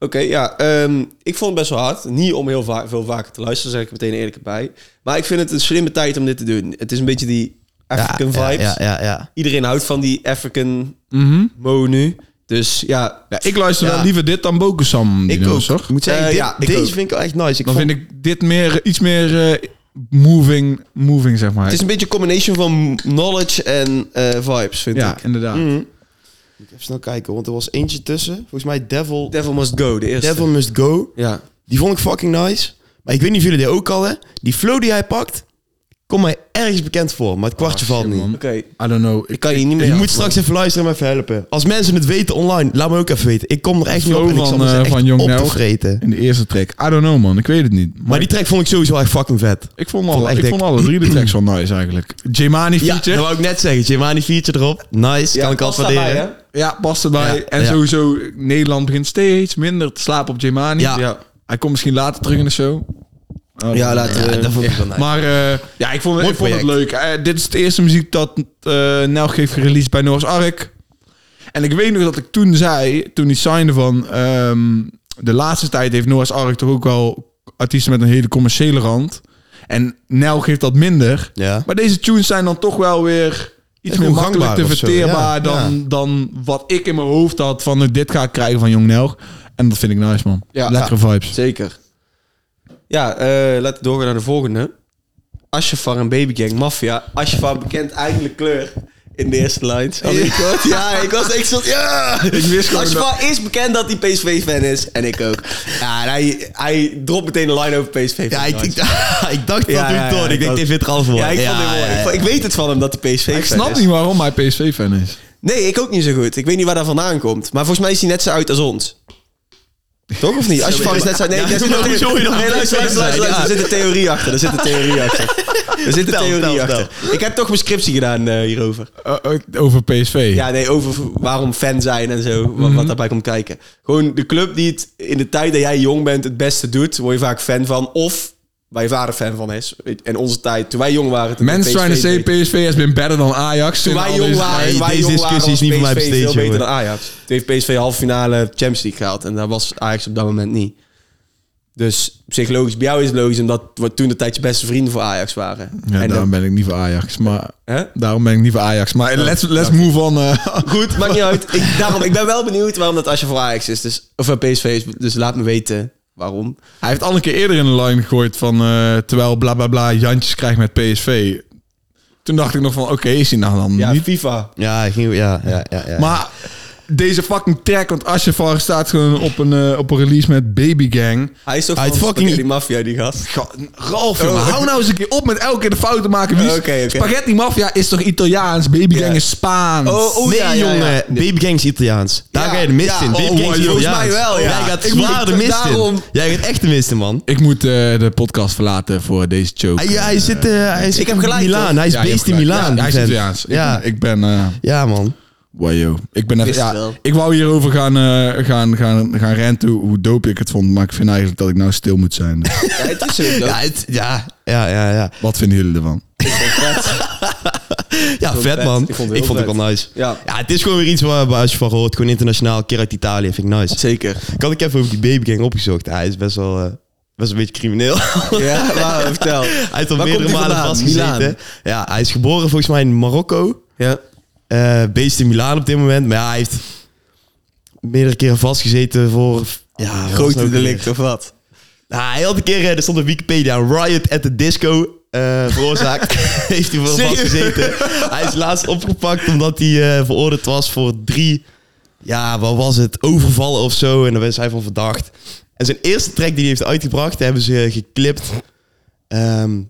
[SPEAKER 2] Oké, ja, ehm, ik vond het best wel hard. Niet om heel va- veel vaker te luisteren, zeg ik er meteen eerlijk bij. Maar ik vind het een slimme tijd om dit te doen. Het is een beetje die African
[SPEAKER 3] ja,
[SPEAKER 2] vibes.
[SPEAKER 3] Ja, ja, ja.
[SPEAKER 2] Iedereen houdt van die African
[SPEAKER 1] Mhm.
[SPEAKER 2] mo nu. Dus ja,
[SPEAKER 1] Ja, ik luister
[SPEAKER 3] Ja.
[SPEAKER 1] wel liever dit dan Bokenstam.
[SPEAKER 3] Ik ook.
[SPEAKER 1] Hoor.
[SPEAKER 3] Ik moet zeggen,
[SPEAKER 2] Eh,
[SPEAKER 3] dit-
[SPEAKER 2] ja, ik
[SPEAKER 3] deze
[SPEAKER 2] ook.
[SPEAKER 3] vind ik wel echt nice. Ik
[SPEAKER 1] Dan
[SPEAKER 3] vond-
[SPEAKER 1] vind ik dit meer, iets meer eh, moving, moving, zeg maar.
[SPEAKER 2] het is een beetje een combination van knowledge en eh, vibes, vind
[SPEAKER 1] ja,
[SPEAKER 2] ik.
[SPEAKER 1] inderdaad.
[SPEAKER 3] Mm. Moet ik even snel kijken, want er was eentje tussen. Volgens mij Devil,
[SPEAKER 2] Devil Must Go, de eerste.
[SPEAKER 3] Devil Must Go.
[SPEAKER 2] Ja.
[SPEAKER 3] Die vond ik fucking nice. Maar ik weet niet of jullie die ook al hè. Die flow die hij pakt, komt mij ergens bekend voor. Maar het kwartje
[SPEAKER 1] Ah, Shit,
[SPEAKER 3] valt niet.
[SPEAKER 1] man.
[SPEAKER 2] Oké,
[SPEAKER 1] I don't know.
[SPEAKER 2] ik
[SPEAKER 1] Ik,
[SPEAKER 2] kan je niet meer
[SPEAKER 3] Je moet straks even luisteren en me even helpen. Als mensen het weten online, laat me ook even weten. Ik kom er echt niet op
[SPEAKER 1] Flow
[SPEAKER 3] en ik zal
[SPEAKER 1] van,
[SPEAKER 3] me ze
[SPEAKER 1] eh,
[SPEAKER 3] echt
[SPEAKER 1] van Young
[SPEAKER 3] op te
[SPEAKER 1] Nelg.
[SPEAKER 3] vreten.
[SPEAKER 1] in de eerste track. I don't know, man. Ik weet het niet. Maar,
[SPEAKER 3] Maar die track vond ik sowieso echt fucking vet.
[SPEAKER 1] ik, vond
[SPEAKER 3] vond
[SPEAKER 1] alle,
[SPEAKER 3] echt
[SPEAKER 1] ik
[SPEAKER 3] dik.
[SPEAKER 1] vond alle drie de tracks wel nice, eigenlijk. Jemani
[SPEAKER 3] Ja,
[SPEAKER 1] feature.
[SPEAKER 3] dat wou ik net zeggen. Jimani feature erop. Nice,
[SPEAKER 2] Ja,
[SPEAKER 3] kan ik
[SPEAKER 2] past
[SPEAKER 3] altijd waarderen.
[SPEAKER 2] daarbij, hè?
[SPEAKER 1] Ja, past erbij.
[SPEAKER 3] Ja,
[SPEAKER 1] en
[SPEAKER 3] ja.
[SPEAKER 1] sowieso, Nederland begint steeds minder te slapen op Jemani.
[SPEAKER 3] Ja.
[SPEAKER 1] Hij komt misschien later terug in de show. Oh,
[SPEAKER 2] Ja, laten we...
[SPEAKER 3] Ja, eh, dat vond ik wel nice.
[SPEAKER 1] Maar eh, ja, ik vond, het-
[SPEAKER 3] Mooi
[SPEAKER 1] ik vond het leuk.
[SPEAKER 3] project.
[SPEAKER 1] Eh, dit is de eerste muziek dat eh Nelg heeft gereleased bij Noah's Ark. En ik weet nog dat ik toen zei, toen hij signde van... ehm, de laatste tijd heeft Noah's Ark toch ook wel artiesten met een hele commerciële rand. En Nelg heeft dat minder.
[SPEAKER 3] Ja.
[SPEAKER 1] Maar deze tunes zijn dan toch wel weer iets
[SPEAKER 3] Echt
[SPEAKER 1] meer
[SPEAKER 3] gewoon
[SPEAKER 1] makkelijk te
[SPEAKER 3] gangbaar of zo,
[SPEAKER 1] verteerbaar
[SPEAKER 3] ja,
[SPEAKER 1] dan, dan wat ik in mijn hoofd had van eh, dit ga ik krijgen van Jong Nelg. En dat vind ik nice, man.
[SPEAKER 2] Ja.
[SPEAKER 1] Lekkere vibes.
[SPEAKER 2] Zeker. Ja, eh laten we doorgaan naar de volgende. Ashafar en Baby Gang Mafia. Ashafar bekend eigenlijk kleur in de eerste lines. Had ik gehoord? Ja, ik was echt zo... Ja! Ik
[SPEAKER 1] wist gewoon
[SPEAKER 2] Ashafar is bekend dat hij PSV-fan is. En ik ook. Ja, en hij, hij dropt meteen een line over PSV.
[SPEAKER 3] Ja, ik, ik, ik dacht dat
[SPEAKER 2] Ja,
[SPEAKER 3] toen
[SPEAKER 2] ja,
[SPEAKER 3] door.
[SPEAKER 2] ja,
[SPEAKER 3] ik denk,
[SPEAKER 2] dat-
[SPEAKER 3] dit vindt er al voor.
[SPEAKER 2] Ja, ik, vond hem mooi. Ik vond- ik weet het van hem dat hij PSV-fan
[SPEAKER 1] Ik
[SPEAKER 2] is.
[SPEAKER 1] snap niet waarom hij PSV-fan is.
[SPEAKER 2] Nee, ik ook niet zo goed. Ik weet niet waar dat vandaan komt. Maar volgens mij is hij net zo uit als ons. Toch of niet? Ashafar is net zo... Nee,
[SPEAKER 3] Ja,
[SPEAKER 2] daar zit
[SPEAKER 3] hoezo
[SPEAKER 2] een
[SPEAKER 3] je
[SPEAKER 2] theorie-
[SPEAKER 3] dan
[SPEAKER 2] Nee, luister, luister, luister, luister. Er zit een theorie achter. Er zit een theorie achter. Er zit een
[SPEAKER 3] Vertel,
[SPEAKER 2] theorie
[SPEAKER 3] vertel,
[SPEAKER 2] achter. Ik heb toch mijn scriptie gedaan eh, hierover.
[SPEAKER 1] Eh, eh, over PSV.
[SPEAKER 2] Ja, nee, over waarom fan zijn en zo. Wat,
[SPEAKER 3] Mhm.
[SPEAKER 2] wat daarbij komt kijken. Gewoon de club die het in de tijd dat jij jong bent het beste doet... word je vaak fan van. Of waar je vader fan van is. En onze tijd, toen wij jong waren... toen
[SPEAKER 1] Men's
[SPEAKER 2] PSV
[SPEAKER 1] trying to say
[SPEAKER 2] deed.
[SPEAKER 1] PSV has been better than Ajax.
[SPEAKER 2] Toen
[SPEAKER 1] in
[SPEAKER 2] wij
[SPEAKER 1] al
[SPEAKER 2] jong
[SPEAKER 1] deze-
[SPEAKER 2] waren,
[SPEAKER 3] nou dus- nee,
[SPEAKER 2] toen wij
[SPEAKER 3] deze
[SPEAKER 2] jong
[SPEAKER 3] discussie
[SPEAKER 2] waren,
[SPEAKER 3] is niet
[SPEAKER 2] was
[SPEAKER 3] voor mij
[SPEAKER 2] PSV
[SPEAKER 3] besteed,
[SPEAKER 2] veel beter
[SPEAKER 3] jongen.
[SPEAKER 2] dan Ajax. Toen heeft PSV halve finale Champions League gehaald. En daar was Ajax op dat moment niet. Dus psychologisch, bij jou is het logisch... omdat we toen de tijd je beste vrienden voor Ajax waren.
[SPEAKER 1] Ja,
[SPEAKER 2] en
[SPEAKER 1] daarom
[SPEAKER 2] dan,
[SPEAKER 1] ben ik niet voor Ajax. Maar
[SPEAKER 2] hè?
[SPEAKER 1] daarom ben ik niet voor Ajax. Maar let's, let's move on. eh.
[SPEAKER 2] Goed, maakt niet uit. Ik, daarom, ik ben wel benieuwd waarom dat als je voor Ajax is. Dus, of voor PSV is. Dus laat me weten waarom.
[SPEAKER 1] hij heeft al een keer eerder in de line gegooid van... eh, terwijl bla bla bla Jantjes krijgt met PSV. Toen dacht ik nog van, oké, is hij nou dan niet?
[SPEAKER 2] FIFA.
[SPEAKER 3] Ja, ik ging, ja, ja, ja, ja.
[SPEAKER 1] Maar deze fucking track, want Ashafar staat gewoon op een, eh, op een release met Baby Gang.
[SPEAKER 2] Hij is toch
[SPEAKER 3] Hij
[SPEAKER 2] van
[SPEAKER 3] is fucking-
[SPEAKER 2] die maffia, die gast.
[SPEAKER 1] Ga- Ralf, jongen, hou nou eens een keer op met elke keer de fouten maken. Wie is-
[SPEAKER 2] Oké, oké.
[SPEAKER 1] Spaghetti Mafia is toch Italiaans? Baby Gang
[SPEAKER 2] Ja.
[SPEAKER 1] is Spaans.
[SPEAKER 2] Oh, oh,
[SPEAKER 3] nee,
[SPEAKER 2] ja, ja, ja.
[SPEAKER 3] jongen. Baby Gangs Italiaans. Daar
[SPEAKER 2] Ja,
[SPEAKER 3] ga je de mist
[SPEAKER 2] ja.
[SPEAKER 3] in. Baby
[SPEAKER 1] Oh,
[SPEAKER 3] Gangs
[SPEAKER 1] wow,
[SPEAKER 2] volgens
[SPEAKER 3] Italiaans.
[SPEAKER 2] mij wel, ja.
[SPEAKER 3] Jij gaat
[SPEAKER 2] Ik moet-
[SPEAKER 3] zwaar de mist
[SPEAKER 2] daarom-
[SPEAKER 3] in. Jij gaat echt de mist in, man.
[SPEAKER 1] Ik moet eh, de podcast verlaten voor deze joke.
[SPEAKER 3] Hij, hij zit, eh hij zit
[SPEAKER 2] heb
[SPEAKER 3] in
[SPEAKER 2] gelijk,
[SPEAKER 3] Milaan.
[SPEAKER 2] toch?
[SPEAKER 3] Hij is
[SPEAKER 1] Ja, je hebt
[SPEAKER 3] beest in
[SPEAKER 1] gelijk.
[SPEAKER 3] Milaan.
[SPEAKER 1] Ja, hij
[SPEAKER 3] die
[SPEAKER 1] is
[SPEAKER 3] vent.
[SPEAKER 1] Italiaans.
[SPEAKER 3] Ja.
[SPEAKER 1] Ik, ik ben... eh
[SPEAKER 3] ja, man.
[SPEAKER 1] wajo. Ik ben even...
[SPEAKER 2] Wist het
[SPEAKER 1] Ja,
[SPEAKER 2] wel.
[SPEAKER 1] ik wou hierover gaan, eh gaan, gaan, gaan renten hoe dope ik het vond. Maar ik vind eigenlijk dat ik nou stil moet zijn.
[SPEAKER 2] Ja, het is zo.
[SPEAKER 3] Ja, het, ja, ja, ja, ja.
[SPEAKER 1] Wat vinden jullie ervan?
[SPEAKER 3] Ja,
[SPEAKER 2] vond het
[SPEAKER 3] vet,
[SPEAKER 2] vet.
[SPEAKER 3] man.
[SPEAKER 2] Ik vond het heel
[SPEAKER 3] ook
[SPEAKER 2] vet.
[SPEAKER 3] wel nice.
[SPEAKER 2] Ja.
[SPEAKER 3] het is gewoon weer iets waar, waar als je van hoort. Gewoon internationaal, een keer uit Italië. Vind ik nice.
[SPEAKER 2] Zeker.
[SPEAKER 3] Ik had ik even over die Baby Gang opgezocht. Hij is best wel... eh, was een beetje crimineel.
[SPEAKER 2] Ja, maar vertel.
[SPEAKER 3] Hij heeft al
[SPEAKER 2] Waar komt
[SPEAKER 3] meerdere
[SPEAKER 2] hij
[SPEAKER 3] malen
[SPEAKER 2] vandaan? Milaan?
[SPEAKER 3] vastgezeten. Ja, hij is geboren volgens mij in Marokko.
[SPEAKER 2] Ja.
[SPEAKER 3] eh beest in Milaan op dit moment. Maar ja, hij heeft meerdere keren vastgezeten voor... Ja, wat was het
[SPEAKER 2] Grote
[SPEAKER 3] ook
[SPEAKER 2] delict of wat?
[SPEAKER 3] weer? Nou, hij had een keer, eh, er stond op Wikipedia, riot at the disco eh, veroorzaakt. heeft hij voor
[SPEAKER 2] Serieus?
[SPEAKER 3] vastgezeten. hij is laatst opgepakt omdat hij eh, veroordeeld was voor drie, ja, wat was het, overvallen of zo. En daar was hij van verdacht. En zijn eerste track die hij heeft uitgebracht, hebben ze eh, geklipt ehm,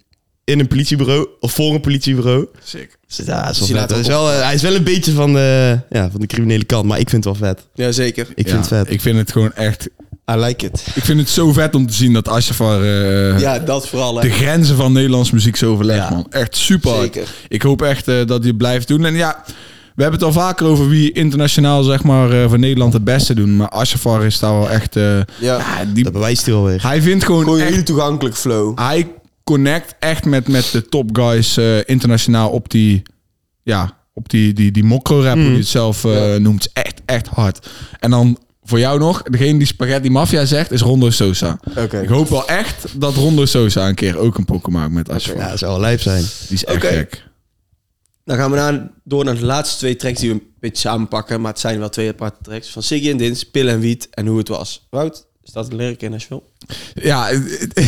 [SPEAKER 3] in een politiebureau, of voor een politiebureau.
[SPEAKER 1] Sick.
[SPEAKER 3] Dus Ja,
[SPEAKER 2] Dus
[SPEAKER 3] is
[SPEAKER 2] je
[SPEAKER 3] wel vet.
[SPEAKER 2] laat
[SPEAKER 3] Hij, is
[SPEAKER 2] ook
[SPEAKER 3] wel, eh, hij is wel een beetje van de, ja, van de criminele kant, maar ik vind het wel vet.
[SPEAKER 2] Jazeker.
[SPEAKER 3] Ik vind het vet.
[SPEAKER 1] Ik vind het gewoon echt...
[SPEAKER 2] I like it.
[SPEAKER 1] Ik vind het zo vet om te zien dat Asjafar eh,
[SPEAKER 2] Ja, dat vooral.
[SPEAKER 1] de
[SPEAKER 2] Hè.
[SPEAKER 1] grenzen van Nederlands muziek zo verlegt,
[SPEAKER 2] Ja.
[SPEAKER 1] man. Echt super hard.
[SPEAKER 2] Zeker.
[SPEAKER 1] Ik hoop echt eh, dat hij het blijft doen. En ja, we hebben het al vaker over wie internationaal, zeg maar, eh, voor Nederland het beste doen. Maar Asjafar is daar wel echt... eh,
[SPEAKER 2] Ja.
[SPEAKER 1] ja, die,
[SPEAKER 3] Dat bewijst hij wel weer.
[SPEAKER 1] hij vindt gewoon
[SPEAKER 2] Gewoon een
[SPEAKER 1] echt
[SPEAKER 2] hele toegankelijk flow.
[SPEAKER 1] hij connect echt met, met de top guys eh, internationaal op die, ja, op die, die, die mokro-rap,
[SPEAKER 2] Mm.
[SPEAKER 1] hoe je het zelf eh, noemt. Echt, echt hard. En dan voor jou nog, degene die Spaghetti Mafia zegt, is Rondo Sosa.
[SPEAKER 2] Oké.
[SPEAKER 1] Ik hoop wel echt dat Rondo Sosa een keer ook een pokken maakt met Ashford.
[SPEAKER 3] Ja, dat zou wel lijp zijn.
[SPEAKER 1] Die is echt
[SPEAKER 2] Oké.
[SPEAKER 1] gek.
[SPEAKER 2] Dan gaan we naar, door naar de laatste twee tracks die we een beetje samenpakken. Maar het zijn wel twee aparte tracks. Van Siggy en Dins, Pil en Wiet en hoe het was. Wout, staat de lyric in Nashville?
[SPEAKER 1] Ja, het- het-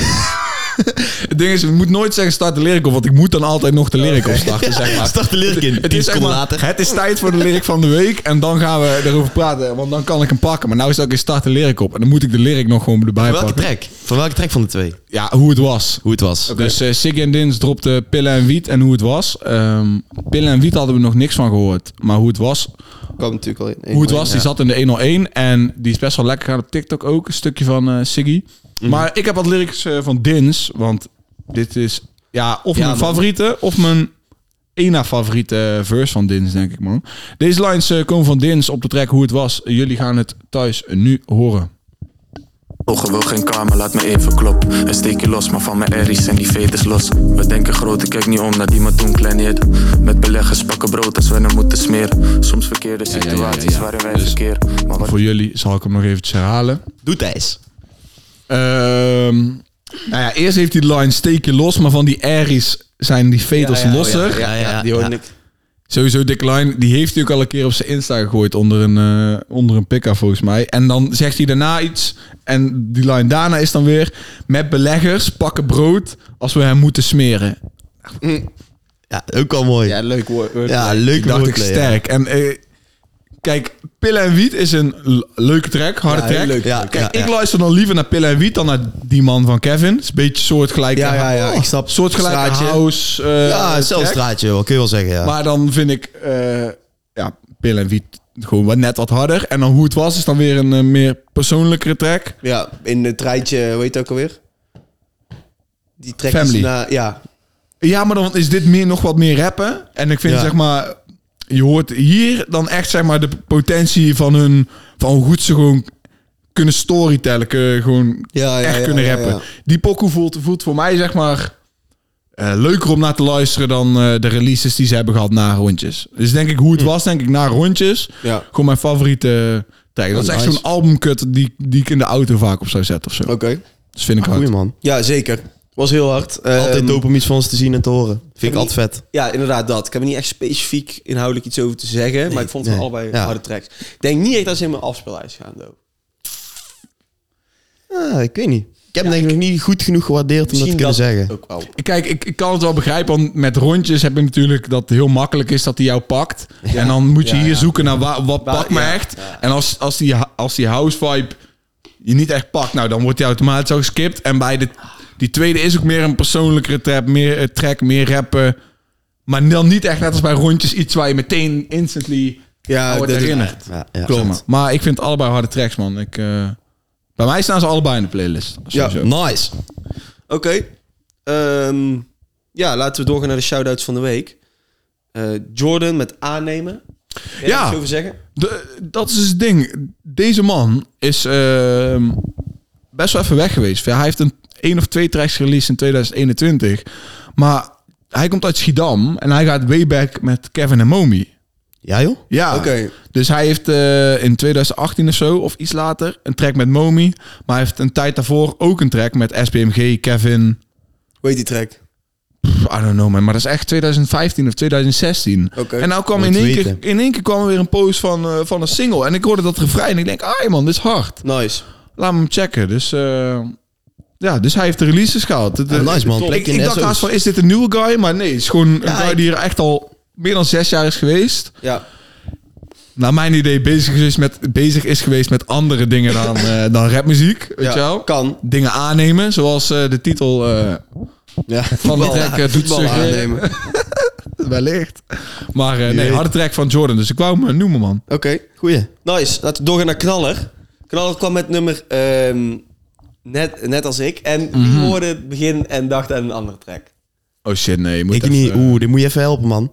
[SPEAKER 1] het ding is, ik moet nooit zeggen start de lyric op, want ik moet dan altijd nog de lyric opstarten, zeg maar.
[SPEAKER 3] Start de lyric in.
[SPEAKER 1] Het
[SPEAKER 3] Tien
[SPEAKER 1] is, zeg
[SPEAKER 3] seconden
[SPEAKER 1] maar,
[SPEAKER 3] later.
[SPEAKER 1] het is tijd voor de lyric van de week en dan gaan we erover praten, want dan kan ik hem pakken. Maar nou is dat ik in start de lyric op en dan moet ik de lyric nog gewoon erbij
[SPEAKER 3] Van welke
[SPEAKER 1] pakken.
[SPEAKER 3] track? Van welke track van de twee?
[SPEAKER 1] Ja, hoe het was.
[SPEAKER 3] Hoe het was.
[SPEAKER 1] Dus eh Siggy en Dins dropte Pillen en Wiet en hoe het was. Ehm Pillen en Wiet hadden we nog niks van gehoord, maar hoe het was,
[SPEAKER 2] Kwam natuurlijk al in.
[SPEAKER 1] hoe het was, die zat in de 101 en die is best wel lekker gaan op TikTok ook, een stukje van eh, Siggy.
[SPEAKER 2] Mhm.
[SPEAKER 1] Maar ik heb wat lyrics eh, van Dins, want dit is ja, of
[SPEAKER 2] Ja,
[SPEAKER 1] mijn
[SPEAKER 2] man.
[SPEAKER 1] favoriete of mijn één na favoriete eh, verse van Dins, denk ik man. Deze lines eh, komen van Dins op de track Hoe het was. Jullie gaan het thuis nu horen.
[SPEAKER 4] Ogen wil geen kamer, laat me even klop. Een steekje los, maar van mijn erries en die veters los. We denken groot, ik kijk niet om naar die me toen klein hield. Met beleggers pakken brood als we hem moeten smeren. Soms verkeerde
[SPEAKER 1] ja, ja,
[SPEAKER 4] situaties
[SPEAKER 1] ja.
[SPEAKER 4] waarin wij
[SPEAKER 1] Dus-
[SPEAKER 4] verkeer. Maar wat
[SPEAKER 1] Voor jullie zal ik hem nog eventjes herhalen.
[SPEAKER 3] Doet hij eens.
[SPEAKER 1] Ehm, nou ja, eerst heeft hij de line steekje los, maar van die Aries zijn die veters losser.
[SPEAKER 2] Ja, ja,
[SPEAKER 3] ja,
[SPEAKER 2] die hoorde
[SPEAKER 3] ja.
[SPEAKER 2] ik.
[SPEAKER 1] Sowieso Dick Line, die heeft hij ook al een keer op zijn Insta gegooid onder een, eh onder een pick-up volgens mij. En dan zegt hij daarna iets en die line daarna is dan weer... Met beleggers pakken brood als we hem moeten smeren.
[SPEAKER 3] Ja, ook al mooi.
[SPEAKER 2] Ja,
[SPEAKER 3] Ja,
[SPEAKER 2] leuk woord.
[SPEAKER 3] leuk
[SPEAKER 1] Ik dacht ik
[SPEAKER 3] woordplay, ja.
[SPEAKER 1] sterk. En eh, kijk, Pillen en Wiet is een l- leuke track, harde
[SPEAKER 2] Ja, heel
[SPEAKER 1] track.
[SPEAKER 2] leuk.
[SPEAKER 3] Ja,
[SPEAKER 1] Kijk,
[SPEAKER 3] ja,
[SPEAKER 1] ik
[SPEAKER 3] ja.
[SPEAKER 1] luister dan liever naar Pillen en Wiet dan naar die man van Kevin. Het is een beetje soortgelijke...
[SPEAKER 2] Ja, ja, ja, ik snap.
[SPEAKER 1] Soortgelijke
[SPEAKER 2] Straatje.
[SPEAKER 1] house eh,
[SPEAKER 3] Ja,
[SPEAKER 1] track.
[SPEAKER 3] zelfs straatje wel, kun je wel zeggen, ja.
[SPEAKER 1] Maar dan vind ik eh, ja, Pil en Wiet gewoon wat, net wat harder. En dan hoe het was is dan weer een eh, meer persoonlijkere track.
[SPEAKER 2] Ja, in het rijtje, hoe heet het ook alweer? Die track is
[SPEAKER 1] Family.
[SPEAKER 2] na... Ja,
[SPEAKER 1] Ja, maar dan is dit meer, nog wat meer rappen. En ik vind
[SPEAKER 3] Ja.
[SPEAKER 1] zeg maar, je hoort hier dan echt zeg maar de potentie van hun, van hoe goed ze gewoon kunnen storytellen, kunnen gewoon
[SPEAKER 2] Ja, ja,
[SPEAKER 1] echt
[SPEAKER 2] ja,
[SPEAKER 1] kunnen
[SPEAKER 2] ja,
[SPEAKER 1] rappen.
[SPEAKER 2] ja.
[SPEAKER 1] Die pokoe voelt, voelt voor mij zeg maar eh, leuker om naar te luisteren dan eh, de releases die ze hebben gehad na rondjes. Dus denk ik hoe het was, denk ik na rondjes.
[SPEAKER 2] Hm. ja.
[SPEAKER 1] Gewoon mijn favoriete track. Dat is
[SPEAKER 3] Oh,
[SPEAKER 1] echt
[SPEAKER 3] nice.
[SPEAKER 1] zo'n albumkut die, die ik in de auto vaak op zou zetten of zo.
[SPEAKER 2] oké.
[SPEAKER 1] Dus vind ik hard.
[SPEAKER 3] Goeie man.
[SPEAKER 2] Ja, zeker. Was heel hard.
[SPEAKER 3] Altijd
[SPEAKER 2] Ehm,
[SPEAKER 3] dope om iets van ons te zien en te horen. Vind ik altijd vet.
[SPEAKER 2] Ja, inderdaad dat. Ik heb er niet echt specifiek inhoudelijk iets over te zeggen, maar ik vond het
[SPEAKER 3] nee.
[SPEAKER 2] allebei
[SPEAKER 3] Ja.
[SPEAKER 2] harde tracks. Ik denk niet echt dat ze in mijn afspeellijst gaan, though.
[SPEAKER 3] Ah, ik weet niet. Ik heb hem denk ik nog niet goed genoeg gewaardeerd om dat te kunnen zeggen.
[SPEAKER 2] ook wel.
[SPEAKER 1] Kijk, ik, ik kan het wel begrijpen, want met rondjes heb je natuurlijk dat het heel makkelijk is dat hij jou pakt. En dan moet je
[SPEAKER 2] Ja,
[SPEAKER 1] hier
[SPEAKER 2] ja.
[SPEAKER 1] zoeken naar wa- wat
[SPEAKER 2] Waar-
[SPEAKER 1] pakt me
[SPEAKER 2] ja,
[SPEAKER 1] echt. En als, als, die, als die house vibe je niet echt pakt, nou dan wordt die automatisch al geskipt. En bij de, die tweede is ook meer een persoonlijkere trap, meer eh, track, meer rappen. Maar dan niet echt net als bij rondjes iets waar je meteen instantly
[SPEAKER 2] Ja,
[SPEAKER 1] aan wordt
[SPEAKER 2] dat is-
[SPEAKER 1] herinnerd.
[SPEAKER 3] Ja, ja.
[SPEAKER 1] Klopt. man. Maar ik vind allebei harde tracks, man. Ik, eh, bij mij staan ze allebei in de playlist. Sowieso.
[SPEAKER 3] Nice.
[SPEAKER 2] Oké. Ehm, ja, laten we doorgaan naar de shout-outs van de week. Eh, Jordan met aannemen. Kan je
[SPEAKER 1] Ja.
[SPEAKER 2] daar iets over zeggen?
[SPEAKER 1] De- dat is dus het ding. Deze man is ehm, best wel even weg geweest. Ja, Hij heeft een één of twee tracks released in 2021. Maar hij komt uit Schiedam en hij gaat way back met Kevin en Momi.
[SPEAKER 3] Ja, joh?
[SPEAKER 1] Ja.
[SPEAKER 2] Oké.
[SPEAKER 1] Dus hij heeft eh, in 2018 of zo, of iets later, een track met Momi. Maar hij heeft een tijd daarvoor ook een track met SBMG, Kevin.
[SPEAKER 2] Hoe heet die track?
[SPEAKER 1] Pff, I don't know man, maar dat is echt 2015 of 2016.
[SPEAKER 2] Oké.
[SPEAKER 1] En nou kwam
[SPEAKER 3] Moet
[SPEAKER 1] in één, keer,
[SPEAKER 3] weten.
[SPEAKER 1] in één keer kwam er weer een post van, eh, van een single. En ik hoorde dat refrein en ik denk, ah man, dit is hard.
[SPEAKER 2] Nice.
[SPEAKER 1] Laat me hem checken. Dus eh, ja, dus hij heeft de releases gehaald. Het-
[SPEAKER 3] Ah, nice, man.
[SPEAKER 1] het- Ik,
[SPEAKER 3] Plekje in
[SPEAKER 1] ik
[SPEAKER 3] de
[SPEAKER 1] dacht
[SPEAKER 3] SO's.
[SPEAKER 1] haast van, is dit een nieuwe guy? Maar nee, het is gewoon een
[SPEAKER 3] Ja,
[SPEAKER 1] guy
[SPEAKER 3] ik-
[SPEAKER 1] die er echt al meer dan zes jaar is geweest.
[SPEAKER 2] Ja.
[SPEAKER 1] naar mijn idee bezig is met, bezig is geweest met andere dingen dan, eh, dan rapmuziek. Weet
[SPEAKER 2] ja.
[SPEAKER 1] je
[SPEAKER 3] Oh.
[SPEAKER 1] wel?
[SPEAKER 2] Kan.
[SPEAKER 1] Dingen aannemen, zoals eh, de titel eh,
[SPEAKER 2] Ja.
[SPEAKER 1] van de
[SPEAKER 2] Voetbal-
[SPEAKER 1] track eh, doet
[SPEAKER 2] voetbal
[SPEAKER 1] suggereren.
[SPEAKER 2] aannemen. Oké.
[SPEAKER 1] Wellicht. Maar eh, nee,
[SPEAKER 3] weet.
[SPEAKER 1] harde track van Jordan, dus ik wou hem eh, noemen, man.
[SPEAKER 3] Goeie.
[SPEAKER 2] Nice. Laten we doorgaan naar Knaller. Knaller kwam met nummer ehm, net, net als ik. En die hoorde het begin en dacht aan een andere track.
[SPEAKER 1] Oh shit, nee. je Moet
[SPEAKER 3] ik
[SPEAKER 1] even,
[SPEAKER 3] niet.
[SPEAKER 1] eh,
[SPEAKER 3] Oeh, dit moet je even helpen, man.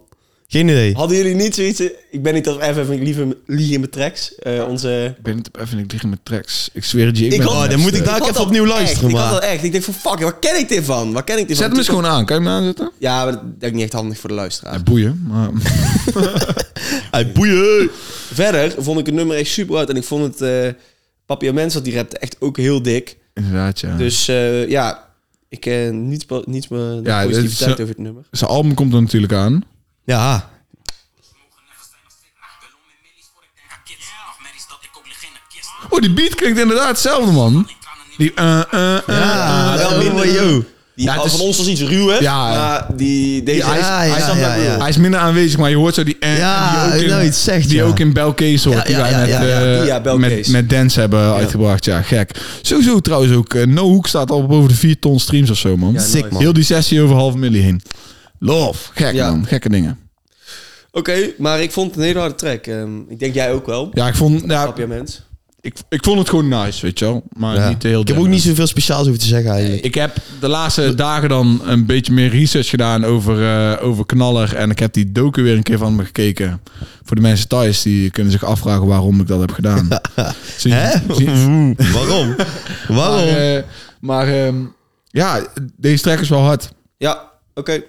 [SPEAKER 3] Geen idee.
[SPEAKER 2] Hadden jullie niet zoiets... eh, Ik ben niet als even van ik lief in- lieg in mijn tracks. Eh, onze...
[SPEAKER 1] Ik ben het op even, ik lig in mijn tracks. Ik zweer het je, ik, ben eh,
[SPEAKER 2] had-
[SPEAKER 1] de
[SPEAKER 3] oh, dan
[SPEAKER 1] beste.
[SPEAKER 3] moet ik daar
[SPEAKER 2] had
[SPEAKER 3] even
[SPEAKER 2] dat
[SPEAKER 3] opnieuw
[SPEAKER 2] echt.
[SPEAKER 3] luisteren,
[SPEAKER 2] Ik had
[SPEAKER 3] maar-
[SPEAKER 2] dat echt. Ik dacht van fuck, waar ken ik dit van? Waar ken ik dit
[SPEAKER 1] Zet
[SPEAKER 2] van?
[SPEAKER 1] hem eens gewoon aan. Kan je hem aanzetten?
[SPEAKER 2] Ja, maar dat is denk ik niet echt handig voor de luisteraar.
[SPEAKER 1] Ja, boeien. Maar...
[SPEAKER 3] Hey, boeien.
[SPEAKER 2] Verder vond ik het nummer echt super uit. En ik vond het... eh Papia Mens, dat die rapte, echt ook heel dik.
[SPEAKER 1] Inderdaad, ja. Dus...
[SPEAKER 2] Dus eh, ja, ik eh niets, po- niets meer
[SPEAKER 1] Ja, dit is
[SPEAKER 2] positiviteit
[SPEAKER 1] zo-
[SPEAKER 2] over het nummer.
[SPEAKER 1] Zijn album komt er natuurlijk aan.
[SPEAKER 3] Ja.
[SPEAKER 1] Oh, die beat klinkt inderdaad hetzelfde, man. Die... eh, eh, eh,
[SPEAKER 3] Ja,
[SPEAKER 2] wel
[SPEAKER 3] wel
[SPEAKER 2] minder.
[SPEAKER 3] yo.
[SPEAKER 2] Die,
[SPEAKER 1] Ja, het
[SPEAKER 2] van
[SPEAKER 1] is-
[SPEAKER 2] ons was iets ruwer,
[SPEAKER 1] Ja.
[SPEAKER 2] maar die, deze...
[SPEAKER 3] Ja, ja,
[SPEAKER 2] hij
[SPEAKER 3] ja,
[SPEAKER 2] zat
[SPEAKER 3] ja,
[SPEAKER 2] wel
[SPEAKER 3] ja.
[SPEAKER 2] ruw.
[SPEAKER 1] Hij is minder aanwezig, maar je hoort zo die... eh,
[SPEAKER 3] Ja,
[SPEAKER 1] die
[SPEAKER 3] ik
[SPEAKER 1] in-
[SPEAKER 3] nou iets zegt,
[SPEAKER 1] Die
[SPEAKER 3] ja.
[SPEAKER 1] ook in Belkees hoort,
[SPEAKER 3] Ja,
[SPEAKER 1] die
[SPEAKER 3] ja,
[SPEAKER 1] wij
[SPEAKER 3] ja,
[SPEAKER 1] met,
[SPEAKER 3] ja, ja.
[SPEAKER 1] eh,
[SPEAKER 2] Die, ja,
[SPEAKER 1] met,
[SPEAKER 2] Belkees.
[SPEAKER 1] met Dance hebben uitgebracht. Ja, gek. Sowieso trouwens ook. eh, no Hook staat al boven de 4 ton streams of zo, man.
[SPEAKER 2] Ja, Sick, nice. man.
[SPEAKER 1] Heel die sessie over half miljoen heen. Love. Gek,
[SPEAKER 2] Ja.
[SPEAKER 1] man. Gekke dingen.
[SPEAKER 2] Oké, maar ik vond het een hele harde track. Ehm, ik denk jij ook wel,
[SPEAKER 1] Ja, ik vond, ja,
[SPEAKER 2] Papia Mens.
[SPEAKER 1] ik, ik vond het gewoon nice, weet je wel. Maar
[SPEAKER 3] Ja.
[SPEAKER 1] niet heel
[SPEAKER 3] ik heb ook niet zoveel speciaals over te zeggen eigenlijk.
[SPEAKER 1] Ik heb de laatste dagen dan een beetje meer research gedaan over, eh, over Knaller. En ik heb die docu weer een keer van me gekeken. Voor de mensen thuis, die kunnen zich afvragen waarom ik dat heb gedaan. Zien-
[SPEAKER 3] Hè? Oh.
[SPEAKER 1] zien-
[SPEAKER 3] Oeh, Waarom?
[SPEAKER 1] maar
[SPEAKER 3] Waarom?
[SPEAKER 1] eh, maar ehm, ja, deze track is wel hard.
[SPEAKER 2] Ja, oké. Eh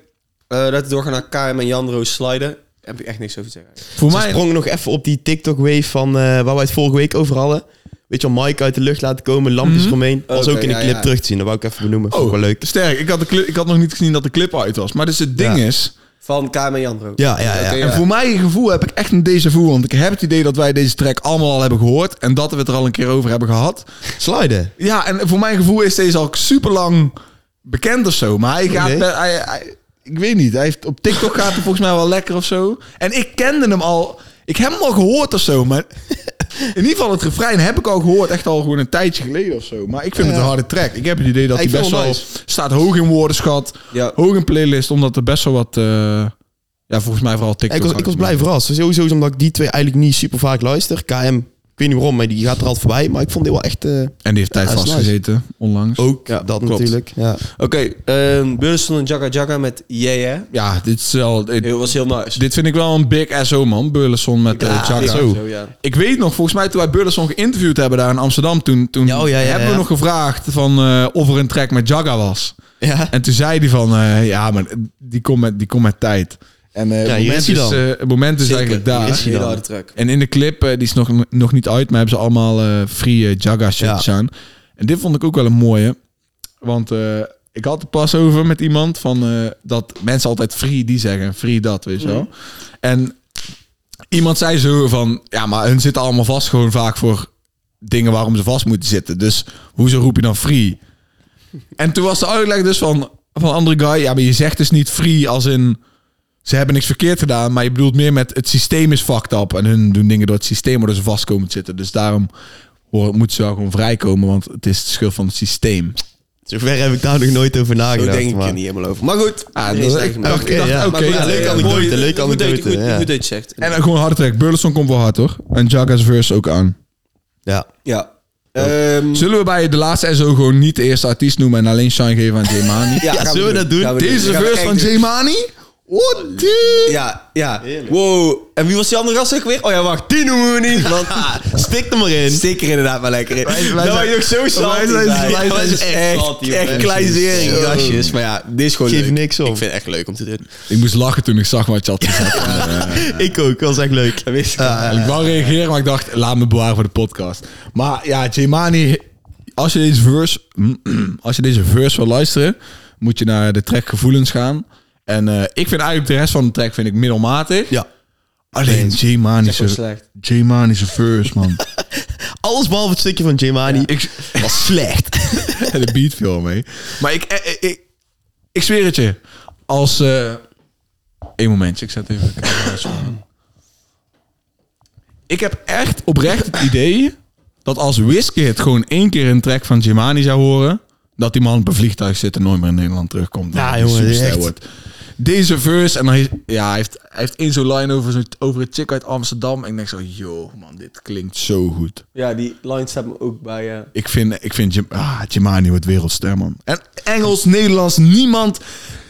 [SPEAKER 2] laten we doorgaan naar KM en Jandro sliden. Daar heb ik echt niks over te zeggen. eigenlijk.
[SPEAKER 1] Voor
[SPEAKER 3] Ze
[SPEAKER 1] mij...
[SPEAKER 3] sprongen nog even op die TikTok-wave van eh, waar wij het vorige week over hadden. Weet je wel, Mike uit de lucht laten komen, lampjes eromheen. Dat was
[SPEAKER 2] Oké,
[SPEAKER 3] ook in de
[SPEAKER 2] ja,
[SPEAKER 3] clip
[SPEAKER 2] ja.
[SPEAKER 3] terug te zien. Dat wou ik even benoemen.
[SPEAKER 1] Oh.
[SPEAKER 3] Vond ik wel leuk.
[SPEAKER 1] sterk. Ik had, de clip, ik had nog niet gezien dat de clip uit was. Maar dus het ding
[SPEAKER 3] Ja.
[SPEAKER 1] is...
[SPEAKER 2] Van KM en Jandro.
[SPEAKER 3] Ja, ja, ja.
[SPEAKER 2] Oké,
[SPEAKER 3] En
[SPEAKER 1] En voor mijn gevoel heb ik echt een déjà vu. Want ik heb het idee dat wij deze track allemaal al hebben gehoord. En dat we het er al een keer over hebben gehad.
[SPEAKER 3] Sliden.
[SPEAKER 1] Ja, en voor mijn gevoel is deze al super lang bekend of zo. Maar hij gaat.
[SPEAKER 3] Nee.
[SPEAKER 1] eh, hij- hij- ik weet niet. Hij heeft, op TikTok gaat hij volgens mij wel lekker of zo. En ik kende hem al. Ik heb hem al gehoord of zo. Maar in ieder geval het refrein heb ik al gehoord. Echt al gewoon een tijdje geleden of zo. Maar ik vind het een harde track. Ik heb het idee dat
[SPEAKER 3] Ja,
[SPEAKER 1] hij
[SPEAKER 3] ik
[SPEAKER 1] best
[SPEAKER 3] vind
[SPEAKER 1] wel
[SPEAKER 3] hem
[SPEAKER 1] staat hoog in woordenschat.
[SPEAKER 2] Ja.
[SPEAKER 1] Hoog in playlist. Omdat er best wel wat. eh, ja, volgens mij vooral
[SPEAKER 3] Ja,
[SPEAKER 1] TikTok.
[SPEAKER 3] ik, was, ik was blij verrast. Sowieso is omdat ik die twee eigenlijk niet super vaak luister. KM, ik weet niet waarom, maar die gaat er altijd voorbij. Maar ik vond dit wel echt... eh,
[SPEAKER 1] En die heeft tijd
[SPEAKER 3] Ja, dat is Oh,
[SPEAKER 1] vastgezeten onlangs.
[SPEAKER 3] ook
[SPEAKER 2] Ja,
[SPEAKER 3] dat
[SPEAKER 1] klopt.
[SPEAKER 3] natuurlijk. Ja.
[SPEAKER 2] Oké, ehm Burleson en Jagga Jagga met Yeah Yeah.
[SPEAKER 1] Ja, dit is wel. dit-
[SPEAKER 2] Heel, was heel nice.
[SPEAKER 1] Dit vind ik wel een big SO, man. Burleson met eh, Chaka.
[SPEAKER 2] ja, zo, ja.
[SPEAKER 1] Ik weet nog, volgens mij toen wij Burleson geïnterviewd hebben daar in Amsterdam... toen, toen
[SPEAKER 3] Ja, oh, ja, ja,
[SPEAKER 1] hebben we
[SPEAKER 3] ja.
[SPEAKER 1] nog gevraagd van, eh, of er een track met Jaga was.
[SPEAKER 3] Ja.
[SPEAKER 1] En toen zei hij van, eh, ja, maar die komt met, die komt met tijd. En eh,
[SPEAKER 3] hier
[SPEAKER 1] het, moment
[SPEAKER 3] is
[SPEAKER 1] is,
[SPEAKER 3] hij dan.
[SPEAKER 1] eh, het moment is
[SPEAKER 2] Zeker,
[SPEAKER 1] eigenlijk
[SPEAKER 2] hier
[SPEAKER 1] daar.
[SPEAKER 2] is hij Hele dan. harde track.
[SPEAKER 1] En in de clip, eh, die is nog, nog niet uit... maar hebben ze allemaal eh, free eh, Jaga shit
[SPEAKER 3] Ja.
[SPEAKER 1] aan. En dit vond ik ook wel een mooie. Want eh, ik had het pas over met iemand... Van, eh, dat mensen altijd free die zeggen en free dat, weet je wel.
[SPEAKER 2] Mm.
[SPEAKER 1] En iemand zei zo van... ja, maar hun zitten allemaal vast gewoon vaak voor... dingen waarom ze vast moeten zitten. Dus hoezo roep je dan free? En toen was de uitleg dus van, van een andere guy... ja, maar je zegt dus niet free als in... ze hebben niks verkeerd gedaan... maar je bedoelt meer met het systeem is fucked up... en hun doen dingen door het systeem waar ze vast komen te zitten. Dus daarom hoor- moeten ze wel gewoon vrijkomen... want het is de schuld van het systeem.
[SPEAKER 3] Zover heb ik daar nog nooit over
[SPEAKER 2] Zo
[SPEAKER 3] nagedacht.
[SPEAKER 2] denk ik
[SPEAKER 3] maar-
[SPEAKER 2] er niet helemaal over. Maar goed.
[SPEAKER 1] Ah, dat-
[SPEAKER 2] iedereen is eigen
[SPEAKER 1] ik
[SPEAKER 2] mening.
[SPEAKER 1] dacht- ik dacht,
[SPEAKER 3] ja.
[SPEAKER 1] oké,
[SPEAKER 2] Maar goed,
[SPEAKER 1] ja,
[SPEAKER 2] ja,
[SPEAKER 3] leuke
[SPEAKER 2] ja,
[SPEAKER 3] anekdote,
[SPEAKER 2] mooi.
[SPEAKER 3] leuke
[SPEAKER 2] Goed dat je-
[SPEAKER 3] anekdote,
[SPEAKER 2] goed-
[SPEAKER 3] ja.
[SPEAKER 2] Goed dat je het zegt.
[SPEAKER 1] En dan gewoon harde track. Burleson komt wel hard, hoor. En Jaga's verse ook aan.
[SPEAKER 3] Ja.
[SPEAKER 2] Ja. Ehm,
[SPEAKER 1] Zullen we bij de laatste SO gewoon niet de eerste artiest noemen... en alleen shine geven aan Jemani?
[SPEAKER 3] Ja,
[SPEAKER 2] gaan
[SPEAKER 3] zullen we dat doen?
[SPEAKER 2] Gaan
[SPEAKER 1] Deze
[SPEAKER 2] Gaan we
[SPEAKER 1] verse van
[SPEAKER 2] echt doen.
[SPEAKER 1] Jemani?
[SPEAKER 3] What, dude?
[SPEAKER 2] Ja, ja.
[SPEAKER 3] Heerlijk.
[SPEAKER 2] Wow. En wie was die andere gast ook weer? Oh ja, wacht. Die noemen we niet. Want
[SPEAKER 3] Stik er maar in.
[SPEAKER 2] stik er inderdaad maar lekker in.
[SPEAKER 1] Wij- wij
[SPEAKER 2] nou,
[SPEAKER 1] zijn-
[SPEAKER 2] je ook zo
[SPEAKER 1] wij
[SPEAKER 2] salty
[SPEAKER 1] zijn-
[SPEAKER 2] zijn.
[SPEAKER 1] wij
[SPEAKER 2] Ja,
[SPEAKER 1] zijn
[SPEAKER 2] is
[SPEAKER 3] echt
[SPEAKER 2] echt,
[SPEAKER 3] salty,
[SPEAKER 2] echt
[SPEAKER 3] mensen.
[SPEAKER 2] kleinzering
[SPEAKER 3] Zo.
[SPEAKER 2] gastjes. Maar ja, dit is gewoon
[SPEAKER 3] Geef
[SPEAKER 2] leuk.
[SPEAKER 3] niks om.
[SPEAKER 2] Ik vind het echt leuk om te doen.
[SPEAKER 1] Ik moest lachen toen ik zag wat je had gezegd.
[SPEAKER 3] Ik ook, was echt leuk.
[SPEAKER 2] Dat wist ik
[SPEAKER 1] En Eh, ik wou reageren, maar ik dacht, laat me bewaren voor de podcast. Maar ja, Jemani, als je deze verse, als je deze verse wil luisteren, moet je naar de track Gevoelens gaan. En eh, ik vind eigenlijk de rest van de track vind ik middelmatig.
[SPEAKER 3] Ja.
[SPEAKER 1] Alleen Jemani zijn
[SPEAKER 2] slecht.
[SPEAKER 1] Jemani zijn verse, man.
[SPEAKER 3] Alles behalve het stukje van Jemani
[SPEAKER 1] ik,
[SPEAKER 3] was slecht.
[SPEAKER 1] en de beat viel al mee. Maar ik, eh, eh, ik, ik, zweer het je. Als... eh Eén momentje, ik zet even... de camera zo aan. ik heb echt oprecht het idee... dat als Wizkid gewoon één keer een track van Jimani zou horen... dat die man op een vliegtuig zit en nooit meer in Nederland terugkomt.
[SPEAKER 3] Ja,
[SPEAKER 1] Dat hij
[SPEAKER 3] jongen,
[SPEAKER 1] superster
[SPEAKER 3] echt.
[SPEAKER 1] Deze verse, en dan heeft, ja, hij heeft, hij heeft één zo'n line over, zo'n over het chick uit Amsterdam. En ik denk zo, joh man, dit klinkt zo goed.
[SPEAKER 2] Ja, die line staat me ook bij... eh,
[SPEAKER 1] Ik vind, ik vind Jim, ah, Jimani wordt wereldster, man. En Engels, Nederlands, niemand...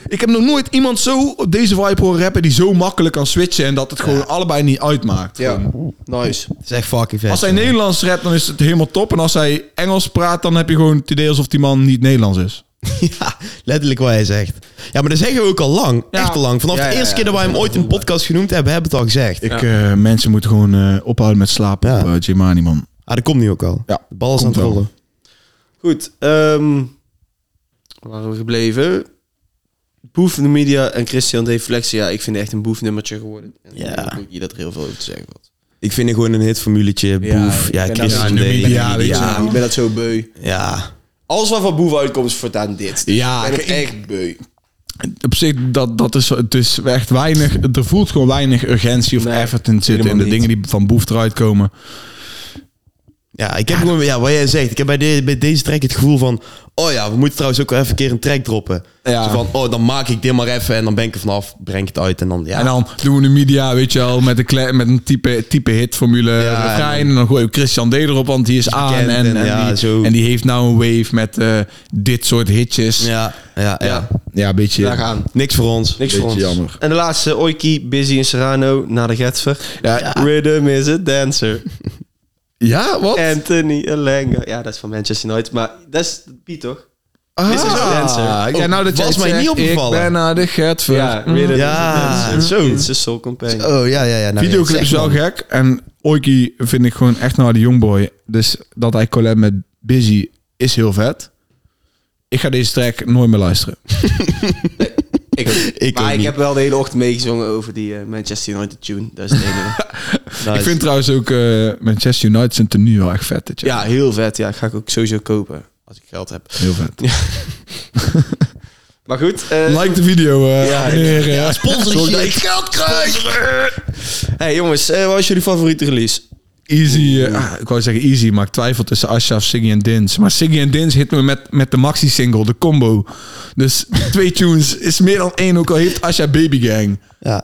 [SPEAKER 1] Ik heb nog nooit iemand zo op deze vibe horen rappen... die zo makkelijk kan switchen en dat het gewoon allebei niet uitmaakt.
[SPEAKER 2] ja,
[SPEAKER 1] Gewoon.
[SPEAKER 2] nice.
[SPEAKER 3] Het is echt fucking vet.
[SPEAKER 1] Als hij Nederlands rapt, dan is het helemaal top. En als hij Engels praat, dan heb je gewoon het idee alsof die man niet Nederlands is.
[SPEAKER 3] Ja, letterlijk wat hij zegt. Ja, maar dat zeggen we ook al lang.
[SPEAKER 1] Ja.
[SPEAKER 3] Echt al lang. Vanaf
[SPEAKER 2] Ja,
[SPEAKER 3] de
[SPEAKER 2] ja,
[SPEAKER 3] eerste
[SPEAKER 2] ja,
[SPEAKER 3] keer dat wij hem ooit in een podcast genoemd hebben, hebben we het al gezegd.
[SPEAKER 1] Ik, eh, mensen moeten gewoon eh, ophouden met slapen
[SPEAKER 3] Ja.
[SPEAKER 1] op eh, Jimani, man.
[SPEAKER 3] Ah, dat komt nu ook al.
[SPEAKER 1] Ja,
[SPEAKER 3] de bal is aan
[SPEAKER 1] komt
[SPEAKER 3] het
[SPEAKER 1] wel.
[SPEAKER 3] rollen.
[SPEAKER 2] Goed, ehm waren we gebleven? Boef in de media en Christian Deflex. Ja, ik vind het echt een boef nummertje geworden. En
[SPEAKER 3] Ja.
[SPEAKER 2] Ik denk ook niet dat er heel veel over te zeggen valt.
[SPEAKER 3] Ik vind het gewoon een hitformuletje.
[SPEAKER 2] Ja,
[SPEAKER 3] Boef.
[SPEAKER 2] ik
[SPEAKER 3] Ja,
[SPEAKER 2] ben
[SPEAKER 3] Christian
[SPEAKER 1] Ja, in
[SPEAKER 2] daar-
[SPEAKER 1] de
[SPEAKER 3] Day,
[SPEAKER 1] media,
[SPEAKER 3] Media.
[SPEAKER 1] weet je
[SPEAKER 2] Ja,
[SPEAKER 1] Ja.
[SPEAKER 2] ik ben dat zo beu.
[SPEAKER 3] Ja.
[SPEAKER 2] Alles wat van boef uitkomt is voortaan dit.
[SPEAKER 1] Ja,
[SPEAKER 2] ik ben het
[SPEAKER 1] ik-
[SPEAKER 2] echt beu.
[SPEAKER 1] Op zich, dat, dat is, het is echt weinig... Er voelt gewoon weinig urgentie of
[SPEAKER 2] Nee,
[SPEAKER 1] effort in zitten...
[SPEAKER 2] helemaal
[SPEAKER 1] in de
[SPEAKER 2] niet.
[SPEAKER 1] dingen die van Boef eruit komen.
[SPEAKER 3] Ja, ik heb gewoon, ja, wat jij zegt. Ik heb bij, de- bij deze track het gevoel van... Oh ja, we moeten trouwens ook wel even een keer een track droppen.
[SPEAKER 1] Ja.
[SPEAKER 3] Zo van, oh, dan maak ik dit maar even en dan ben ik er vanaf. Breng het uit en dan, ja.
[SPEAKER 1] En dan doen we de media, weet je wel, met een, kle- met een type, type hitformule
[SPEAKER 3] Ja,
[SPEAKER 1] refrein. En dan gooien we Christian D erop, want die is aan. En,
[SPEAKER 3] bekend en
[SPEAKER 1] en
[SPEAKER 3] ja,
[SPEAKER 1] die,
[SPEAKER 3] zo.
[SPEAKER 1] en die heeft nou een wave met eh, dit soort hitjes. Ja,
[SPEAKER 3] ja, ja, ja,
[SPEAKER 2] Ja.
[SPEAKER 1] een beetje...
[SPEAKER 2] Daar gaan.
[SPEAKER 3] Niks voor ons.
[SPEAKER 2] Niks voor ons.
[SPEAKER 1] Beetje jammer.
[SPEAKER 2] En de laatste, Oiki, Busy en Serrano, naar de Getver.
[SPEAKER 1] Ja.
[SPEAKER 2] Rhythm is a dancer.
[SPEAKER 1] Ja, wat?
[SPEAKER 2] Anthony Elenga. Ja, dat is van Manchester United, maar dat is de beat, toch?
[SPEAKER 1] Ah,
[SPEAKER 2] This is a dancer.
[SPEAKER 1] ja, nou dat jij
[SPEAKER 3] Oh, Was
[SPEAKER 1] het
[SPEAKER 3] mij
[SPEAKER 1] zegt,
[SPEAKER 3] niet opgevallen.
[SPEAKER 1] Ik ben naar de Hm. Gertver.
[SPEAKER 2] Ja, Rhythm
[SPEAKER 3] Ja,
[SPEAKER 2] is a dancer.
[SPEAKER 3] zo.
[SPEAKER 2] It's a soul companion.
[SPEAKER 3] Oh, ja, ja, ja. Nou,
[SPEAKER 1] Videoclip
[SPEAKER 3] ja,
[SPEAKER 1] is
[SPEAKER 3] zeg
[SPEAKER 1] wel
[SPEAKER 3] maar.
[SPEAKER 1] gek. En Oiki vind ik gewoon echt nou de jongboy. Dus dat hij collab met Busy is heel vet. Ik ga deze track nooit meer luisteren.
[SPEAKER 2] Ik ook.
[SPEAKER 3] Ik ook
[SPEAKER 2] maar ik
[SPEAKER 3] niet.
[SPEAKER 2] heb wel de hele ochtend meegezongen over die eh, Manchester United tune. Dat is het enige.
[SPEAKER 1] Ik vind trouwens ook eh, Manchester United zijn tenue wel echt vet. Dit jaar.
[SPEAKER 2] ja, heel vet. Ja, ga ik ook sowieso kopen als ik geld heb.
[SPEAKER 1] Heel vet.
[SPEAKER 2] Maar goed. eh,
[SPEAKER 1] Like de video. eh
[SPEAKER 2] Ja,
[SPEAKER 1] abonneren. Ja,
[SPEAKER 3] Sponsor
[SPEAKER 1] Sorry,
[SPEAKER 3] ik geld krijg!
[SPEAKER 2] hey jongens, eh, wat is jullie favoriete release?
[SPEAKER 1] Easy. eh, ah, ik wou zeggen easy, maar ik twijfel tussen Ashraf, Siggy en Dins. Maar Siggy en Dins hit me met, met de maxi-single, de combo. Dus twee tunes is meer dan één, ook al heeft Asha Baby Gang.
[SPEAKER 3] Ja.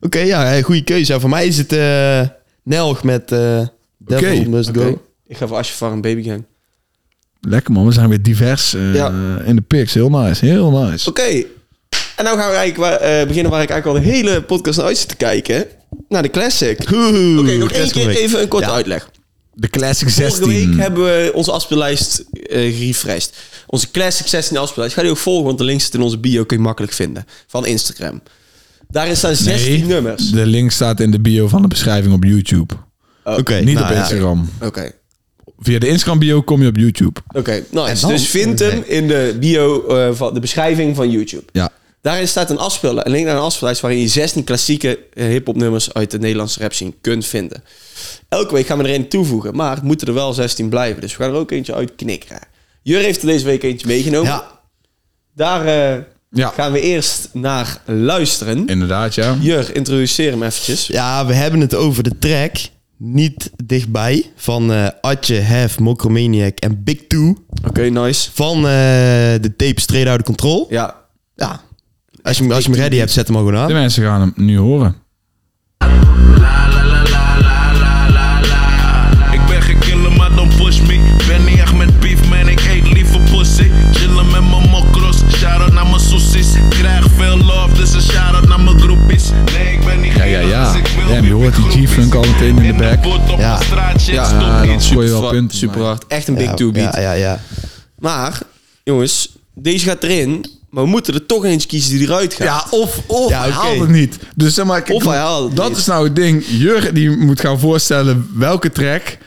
[SPEAKER 3] Oké, ja, eh, goede keuze. Ja, voor mij is het eh Nelg met eh Devil
[SPEAKER 1] Oké,
[SPEAKER 3] Must
[SPEAKER 2] Oké,
[SPEAKER 3] Go.
[SPEAKER 2] Ik ga voor Asje Farm Baby Gang. Oké,
[SPEAKER 1] Lekker man, we zijn weer divers eh,
[SPEAKER 2] Ja.
[SPEAKER 1] in de pics. Heel nice, heel nice.
[SPEAKER 2] en nou gaan we eigenlijk waar- eh, beginnen waar ik eigenlijk al de hele podcast naar uit zit te kijken. Naar de classic. Oké,
[SPEAKER 3] Oké,
[SPEAKER 2] nog één keer even een korte uitleg.
[SPEAKER 1] De Classic
[SPEAKER 2] Vorige week
[SPEAKER 1] 16.
[SPEAKER 2] hebben we onze afspeellijst eh gerefreshed. Onze Classic 16 afspeellijst. Ga die ook volgen, want de link zit in onze bio. Kun je makkelijk vinden. Van Instagram. Daarin staan 16
[SPEAKER 1] Nee,
[SPEAKER 2] nummers.
[SPEAKER 1] De link staat in de bio van de beschrijving op YouTube.
[SPEAKER 2] Oh,
[SPEAKER 3] Oké,
[SPEAKER 1] Niet
[SPEAKER 3] nou
[SPEAKER 1] op
[SPEAKER 3] ja.
[SPEAKER 1] Instagram.
[SPEAKER 2] Oké,
[SPEAKER 1] Via de Instagram bio kom je op YouTube.
[SPEAKER 2] oké. nice.
[SPEAKER 3] dan?
[SPEAKER 2] Dus vind hem in de bio, eh, van de beschrijving van YouTube.
[SPEAKER 1] Ja.
[SPEAKER 2] Daarin staat een, afspeel, een link naar een afspeellijst waarin je 16 klassieke eh, hip-hop nummers uit de Nederlandse rap scene kunt vinden. Elke week gaan we er een toevoegen, maar het moeten er wel 16 blijven. Dus we gaan er ook eentje uit knikkeren. Jur heeft er deze week eentje meegenomen.
[SPEAKER 3] Ja,
[SPEAKER 2] Daar eh,
[SPEAKER 1] Ja.
[SPEAKER 2] gaan we eerst naar luisteren.
[SPEAKER 1] Inderdaad, ja.
[SPEAKER 2] Jur, introduceer hem eventjes.
[SPEAKER 3] ja, we hebben het over de track Niet Dichtbij van eh Atje, Hef, Mokromaniac en Big Two
[SPEAKER 2] Oké, nice.
[SPEAKER 3] van eh, de tape Straight Out of Control. Ja,
[SPEAKER 2] Ja.
[SPEAKER 3] Als, je, hem- als je hem ready hebt, zet hem al gewoon
[SPEAKER 1] De
[SPEAKER 3] aan.
[SPEAKER 1] mensen gaan hem nu horen.
[SPEAKER 5] Ik ben geen killer, maar don't push me. Ben niet echt met beef, man, ik eet liever pussy. Chillen met mijn mokros, shout-out naar mijn soesies. Krijg veel love, dus een shout-out
[SPEAKER 1] G-Funk al meteen in de back.
[SPEAKER 3] Ja.
[SPEAKER 1] Ja, dan scoor je wel punten.
[SPEAKER 2] Super
[SPEAKER 1] maar-
[SPEAKER 2] hard. Echt een big
[SPEAKER 3] ja,
[SPEAKER 2] two beat.
[SPEAKER 3] Ja, ja, ja.
[SPEAKER 2] Maar, jongens, deze gaat erin. Maar we moeten er toch eens kiezen die eruit gaat.
[SPEAKER 1] Ja, of, of
[SPEAKER 3] Ja,
[SPEAKER 1] hij
[SPEAKER 3] oké.
[SPEAKER 1] haalt het niet. Dus zeg maar, kijk,
[SPEAKER 2] Of hij haalt het
[SPEAKER 1] dat
[SPEAKER 2] niet.
[SPEAKER 1] is nou het ding. Jurgen die moet gaan voorstellen welke track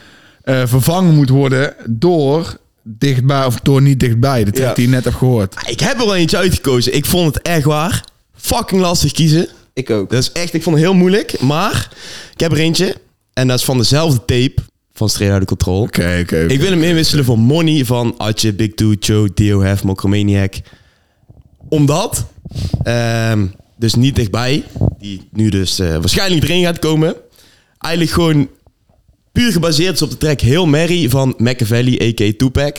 [SPEAKER 1] eh, vervangen moet worden door dichtbij of door niet dichtbij. De track
[SPEAKER 2] Ja.
[SPEAKER 1] die je net hebt gehoord.
[SPEAKER 3] Ik heb er wel eentje uitgekozen. Ik vond het echt waar. Fucking lastig kiezen.
[SPEAKER 2] Ik ook.
[SPEAKER 3] Dat is echt, ik vond het heel moeilijk. Maar ik heb er eentje. En dat is van dezelfde tape van Straight Outta Control.
[SPEAKER 1] Oké, oké. oké.
[SPEAKER 3] Ik wil hem inwisselen voor Money van Atje, Big Two, Joe, Dio, Hef, Mokromaniac. Omdat, ehm, dus niet dichtbij, die nu dus eh, waarschijnlijk erin gaat komen. Eigenlijk gewoon puur gebaseerd is op de track Heel Merry van Machiavelli, a.k.a. Tupac.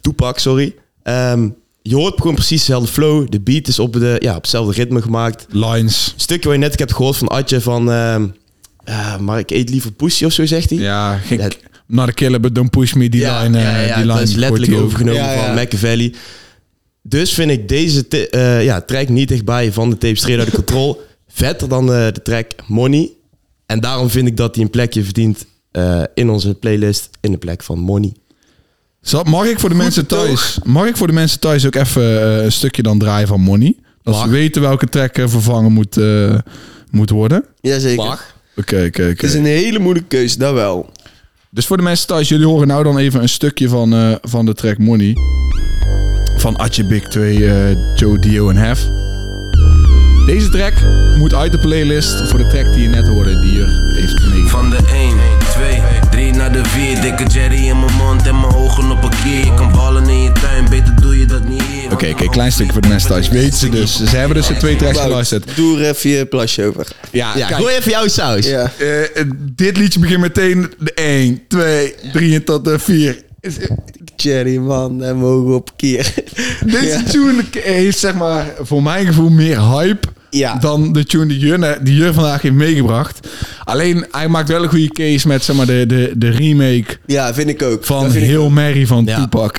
[SPEAKER 3] Tupac, sorry. Ehm, je hoort gewoon precies dezelfde flow. De beat is op, de, ja, op hetzelfde ritme gemaakt
[SPEAKER 1] Lines.
[SPEAKER 3] stukje wat je net hebt gehoord van Adje van... ehm eh, maar ik eet liever pussy of zo, zegt hij.
[SPEAKER 1] Ja, geen,
[SPEAKER 3] Ja.
[SPEAKER 1] not a killer, but don't push me. Die
[SPEAKER 3] Ja,
[SPEAKER 1] line, eh,
[SPEAKER 3] ja, ja,
[SPEAKER 1] die line
[SPEAKER 3] dat is
[SPEAKER 1] wordt
[SPEAKER 3] letterlijk
[SPEAKER 1] hier ook.
[SPEAKER 3] overgenomen
[SPEAKER 2] Ja, ja.
[SPEAKER 3] van Machiavelli. Dus vind ik deze te- eh, ja, track niet dichtbij van de tape Straight Outta Control vetter dan eh, de track Money. En daarom vind ik dat hij een plekje verdient eh, in onze playlist in de plek van Money.
[SPEAKER 1] Zal- Mag ik voor de mensen
[SPEAKER 2] toch?
[SPEAKER 1] thuis, mag ik voor de mensen thuis ook even eh, een stukje dan draaien van Money? Dat
[SPEAKER 3] Mag.
[SPEAKER 1] ze weten welke track eh, vervangen moet, eh, moet worden.
[SPEAKER 2] Jazeker.
[SPEAKER 1] Oké, oké, oké.
[SPEAKER 2] Het is een hele moeilijke keuze, dat wel.
[SPEAKER 1] Dus voor de mensen thuis, jullie horen nou dan even een stukje van, eh, van de track Money. Van Atje Big 2, eh, Joe Dio en Hef. Deze track moet uit de playlist voor de track die je net hoorde, die hier heeft meegegeven.
[SPEAKER 6] Van de 1, 2, 3 naar de 4. Dikke Jerry in mijn mond en mijn ogen op een keer. Je kan ballen in je tuin, beter doe je dat niet. hier.
[SPEAKER 1] Oké, oké, klein stukje voor de mensen thuis. Weet ze dus. Ze hebben dus de twee tracks
[SPEAKER 2] Wout,
[SPEAKER 1] geluisterd.
[SPEAKER 2] Doe er even je plasje over.
[SPEAKER 1] Ja,
[SPEAKER 3] Ja,
[SPEAKER 1] kijk.
[SPEAKER 3] gooi even jouw saus.
[SPEAKER 2] Ja.
[SPEAKER 1] Eh, eh, dit liedje begint meteen de 1, 2, 3 en tot de 4.
[SPEAKER 2] Jerry, man, en mogen op keer.
[SPEAKER 1] Deze
[SPEAKER 2] Ja.
[SPEAKER 1] tune heeft zeg maar voor mijn gevoel meer hype
[SPEAKER 2] Ja.
[SPEAKER 1] dan de tune die Jur, die Jur vandaag heeft meegebracht. Alleen hij maakt wel een goede case met zeg maar, de, de, de remake
[SPEAKER 2] Ja, vind ik ook.
[SPEAKER 1] van
[SPEAKER 2] Dat vind ik-
[SPEAKER 1] Heel Mary van
[SPEAKER 3] Ja.
[SPEAKER 1] Tupac.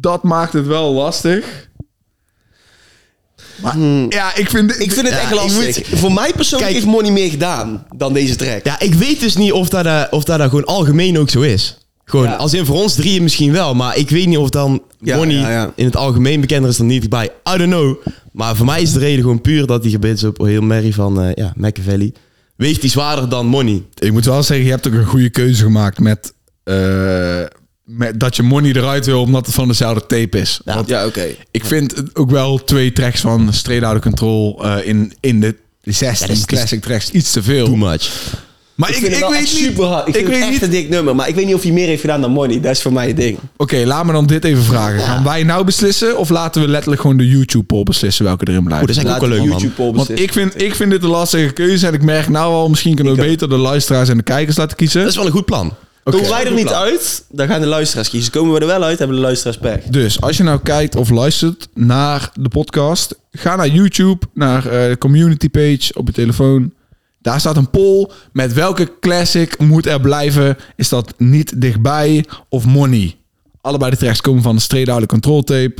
[SPEAKER 1] Dat maakt het wel lastig. Maar ja, ik vind,
[SPEAKER 2] Hmm. Ik vind het
[SPEAKER 3] Ja,
[SPEAKER 2] echt
[SPEAKER 3] ik
[SPEAKER 2] lastig. voor mij persoonlijk
[SPEAKER 3] Kijk-
[SPEAKER 2] heeft Money meer gedaan dan deze track.
[SPEAKER 3] Ja, ik weet dus niet of dat, eh, of dat, dat gewoon algemeen ook zo is. Gewoon,
[SPEAKER 2] Ja.
[SPEAKER 3] als in voor ons drieën misschien wel, maar ik weet niet of dan
[SPEAKER 2] Ja,
[SPEAKER 3] Bonnie
[SPEAKER 2] ja, ja.
[SPEAKER 3] in het algemeen bekender is dan niet bij. I don't know. Maar voor mij is de reden gewoon puur dat die gebit is op heel Mary van eh ja, Machiavelli. Weegt die zwaarder dan Money.
[SPEAKER 1] Ik moet wel zeggen, je hebt ook een goede keuze gemaakt met, eh, met dat je Money eruit wil omdat het van dezelfde tape is.
[SPEAKER 3] Ja.
[SPEAKER 1] Want
[SPEAKER 2] Ja, oké.
[SPEAKER 1] ik vind het ook wel twee tracks van Straight Outta Control eh, in, in de 16
[SPEAKER 3] Ja, dat is-
[SPEAKER 1] classic tracks iets te veel.
[SPEAKER 3] Too much.
[SPEAKER 1] Maar ik,
[SPEAKER 2] Ik, vind
[SPEAKER 1] ik,
[SPEAKER 2] het wel
[SPEAKER 1] weet
[SPEAKER 2] echt
[SPEAKER 1] niet.
[SPEAKER 2] super hard.
[SPEAKER 1] Ik
[SPEAKER 2] Ik, vind
[SPEAKER 1] weet
[SPEAKER 2] het echt
[SPEAKER 1] niet.
[SPEAKER 2] een dik nummer. Maar ik weet niet of hij meer heeft gedaan dan Money. Dat is voor mij het ding.
[SPEAKER 1] Oké, laat me dan dit even vragen. Gaan wij nou beslissen of laten we letterlijk gewoon de YouTube poll beslissen welke erin blijft?
[SPEAKER 3] Oeh, dat is
[SPEAKER 2] Laat
[SPEAKER 3] eigenlijk ook wel
[SPEAKER 2] de
[SPEAKER 3] leuk, man.
[SPEAKER 2] YouTube poll
[SPEAKER 1] Want
[SPEAKER 2] beslissen.
[SPEAKER 1] ik vind, ik vind dit de lastige keuze en ik merk nou al, misschien kunnen we beter de luisteraars en de kijkers laten kiezen.
[SPEAKER 3] Dat is wel een goed plan.
[SPEAKER 1] Oké.
[SPEAKER 2] Komen wij er niet uit, dan gaan de luisteraars kiezen. Komen we er wel uit, hebben de luisteraars pech.
[SPEAKER 1] Dus als je nou kijkt of luistert naar de podcast, ga naar YouTube, naar eh, de community page op je telefoon. Daar staat een poll met welke classic moet er blijven. Is dat niet dichtbij of money? Allebei de tracks komen van de Straight Outta Control Tape.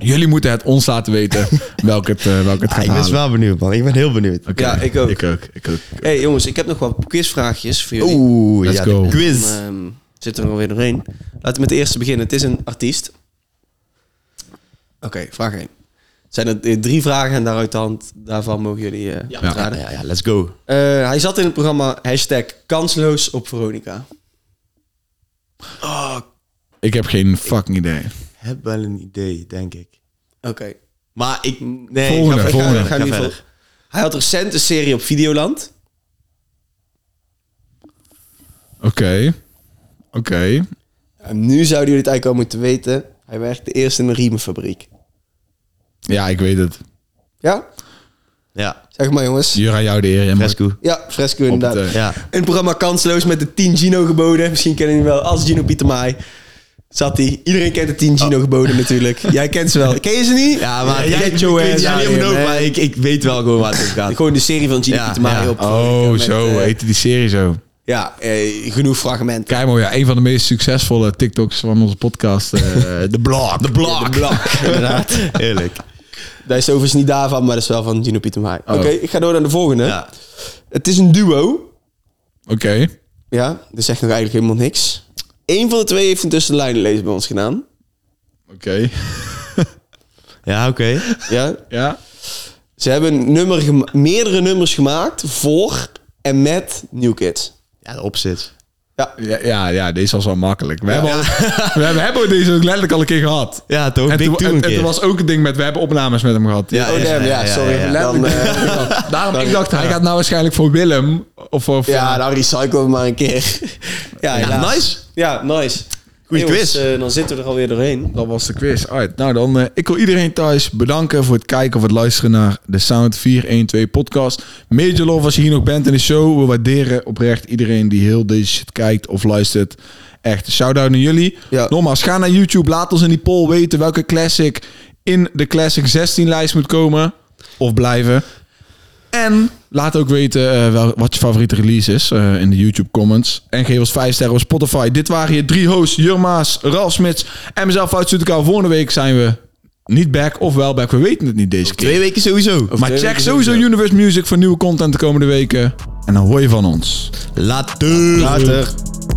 [SPEAKER 1] Jullie moeten het ons laten weten welke het, eh, welke het gaat
[SPEAKER 3] Ja, Ah, ik ben
[SPEAKER 1] halen.
[SPEAKER 3] wel benieuwd, man. Ik ben heel benieuwd.
[SPEAKER 1] Oké,
[SPEAKER 2] Ja, ik ook.
[SPEAKER 1] Ik ook, ik ook.
[SPEAKER 2] Hé hey, jongens, ik heb nog wat quizvraagjes voor jullie.
[SPEAKER 3] Oeh,
[SPEAKER 1] Let's
[SPEAKER 3] ja,
[SPEAKER 1] go.
[SPEAKER 3] de quiz.
[SPEAKER 2] Dan, ehm, zitten we er alweer doorheen. Laten we met de eerste beginnen. Het is een artiest. Oké, vraag 1. Zijn er eh, drie vragen en daaruit de hand, daarvan mogen jullie eh
[SPEAKER 3] Ja, ja,
[SPEAKER 2] raden.
[SPEAKER 3] ja, ja, let's go.
[SPEAKER 2] Eh, hij zat in het programma hashtag kansloos op Veronica.
[SPEAKER 1] Ik heb geen fucking idee.
[SPEAKER 3] Heb wel een idee, denk ik.
[SPEAKER 2] Oké.
[SPEAKER 3] Maar ik... Nee,
[SPEAKER 1] Volgende,
[SPEAKER 3] ga verder,
[SPEAKER 1] volgende.
[SPEAKER 3] ga
[SPEAKER 2] Gaan we in
[SPEAKER 3] verder.
[SPEAKER 2] ieder geval- Hij had recent een serie op Videoland.
[SPEAKER 1] Oké. Oké.
[SPEAKER 2] En nu zouden jullie het eigenlijk al moeten weten. Hij werkte eerst in een riemenfabriek.
[SPEAKER 1] Ja, ik weet het.
[SPEAKER 2] Ja?
[SPEAKER 3] Ja,
[SPEAKER 2] Zeg maar jongens.
[SPEAKER 1] Jura, jou de eer. jij mag-
[SPEAKER 3] Fresco.
[SPEAKER 2] Ja, Fresco
[SPEAKER 1] Op het,
[SPEAKER 2] inderdaad.
[SPEAKER 1] eh,
[SPEAKER 3] Ja.
[SPEAKER 2] Een programma kansloos met de 10 Gino geboden. Misschien kennen jullie hem wel als Gino Pietermaai. Zat hij. Iedereen kent de 10 Gino geboden natuurlijk. Jij kent ze wel. Ken je ze niet?
[SPEAKER 3] Oh. Ja, maar
[SPEAKER 2] Jij
[SPEAKER 3] ik,
[SPEAKER 2] kent
[SPEAKER 3] ik,
[SPEAKER 2] Joe
[SPEAKER 3] weet
[SPEAKER 2] en
[SPEAKER 3] ja, niet
[SPEAKER 2] Zion,
[SPEAKER 3] om het ook,
[SPEAKER 2] hè?
[SPEAKER 3] maar ik, ik weet wel gewoon waar het over gaat.
[SPEAKER 2] Gewoon de serie van Gino
[SPEAKER 3] Ja,
[SPEAKER 2] Pietermaai
[SPEAKER 3] ja.
[SPEAKER 2] op.
[SPEAKER 1] Oh,
[SPEAKER 2] met,
[SPEAKER 1] zo
[SPEAKER 2] eh,
[SPEAKER 1] heette die serie zo.
[SPEAKER 2] ja, eh, genoeg fragmenten.
[SPEAKER 1] Keimo, ja, een van de meest succesvolle TikToks van onze podcast. eh, de blog. De blog.
[SPEAKER 3] Blak. inderdaad. Heerlijk. Oh.
[SPEAKER 2] Dat is overigens niet daarvan, maar dat is wel van Gino Pietermaai. Oké, ik ga door naar de volgende.
[SPEAKER 3] Ja.
[SPEAKER 2] Het is een duo.
[SPEAKER 1] Oké.
[SPEAKER 2] Ja, dat zegt nog eigenlijk helemaal niks. Eén van de twee heeft een tussenlijn lezen bij ons gedaan.
[SPEAKER 1] Oké.
[SPEAKER 3] Ja, oké.
[SPEAKER 2] Ja,
[SPEAKER 1] Ja.
[SPEAKER 2] ze hebben een nummer gema- meerdere nummers gemaakt voor en met New Kids.
[SPEAKER 3] Ja, de opzet.
[SPEAKER 1] Ja, ja, ja, deze was wel makkelijk. We, hebben, al- we hebben, hebben deze ook letterlijk al een keer gehad.
[SPEAKER 3] Ja, toch?
[SPEAKER 1] En
[SPEAKER 3] Big
[SPEAKER 1] toen,
[SPEAKER 3] Two
[SPEAKER 1] en-
[SPEAKER 3] een
[SPEAKER 1] en toen
[SPEAKER 3] keer.
[SPEAKER 1] was ook een ding met, we hebben opnames met hem gehad.
[SPEAKER 3] Ja,
[SPEAKER 2] Oh, damn, ja, sorry. Dan, eh,
[SPEAKER 1] Daarom, ik dacht, hij gaat nou waarschijnlijk voor Willem. Of voor...
[SPEAKER 2] ja, nou recyclen we maar een keer. ja, helaas.
[SPEAKER 3] nice.
[SPEAKER 2] Ja, nice.
[SPEAKER 3] Goeie
[SPEAKER 2] Jongens,
[SPEAKER 3] quiz.
[SPEAKER 2] eh, dan zitten we er alweer doorheen.
[SPEAKER 1] Dat was de quiz. Alright, nou dan, eh, ik wil iedereen thuis bedanken voor het kijken of het luisteren naar de Sound 412 podcast. Major love als je hier nog bent in de show. We waarderen oprecht iedereen die heel deze shit kijkt of luistert. Echt, shout-out naar jullie.
[SPEAKER 2] Ja.
[SPEAKER 1] Nogmaals, ga naar YouTube. Laat ons in die poll weten welke classic in de Classic 16-lijst moet komen. Of blijven. En laat ook weten eh, wel, wat je favoriete release is eh, in de YouTube comments. En geef ons 5 sterren op Spotify. Dit waren je drie hosts. Jurmaas, Ralf Smits en mezelf, Fout Zoetekau. Volgende week zijn we niet back of wel back. We weten het niet deze keer.
[SPEAKER 3] Twee weken sowieso.
[SPEAKER 1] Maar check sowieso Universe Music voor nieuwe content de komende weken. En dan hoor je van ons.
[SPEAKER 3] Later.
[SPEAKER 2] Later.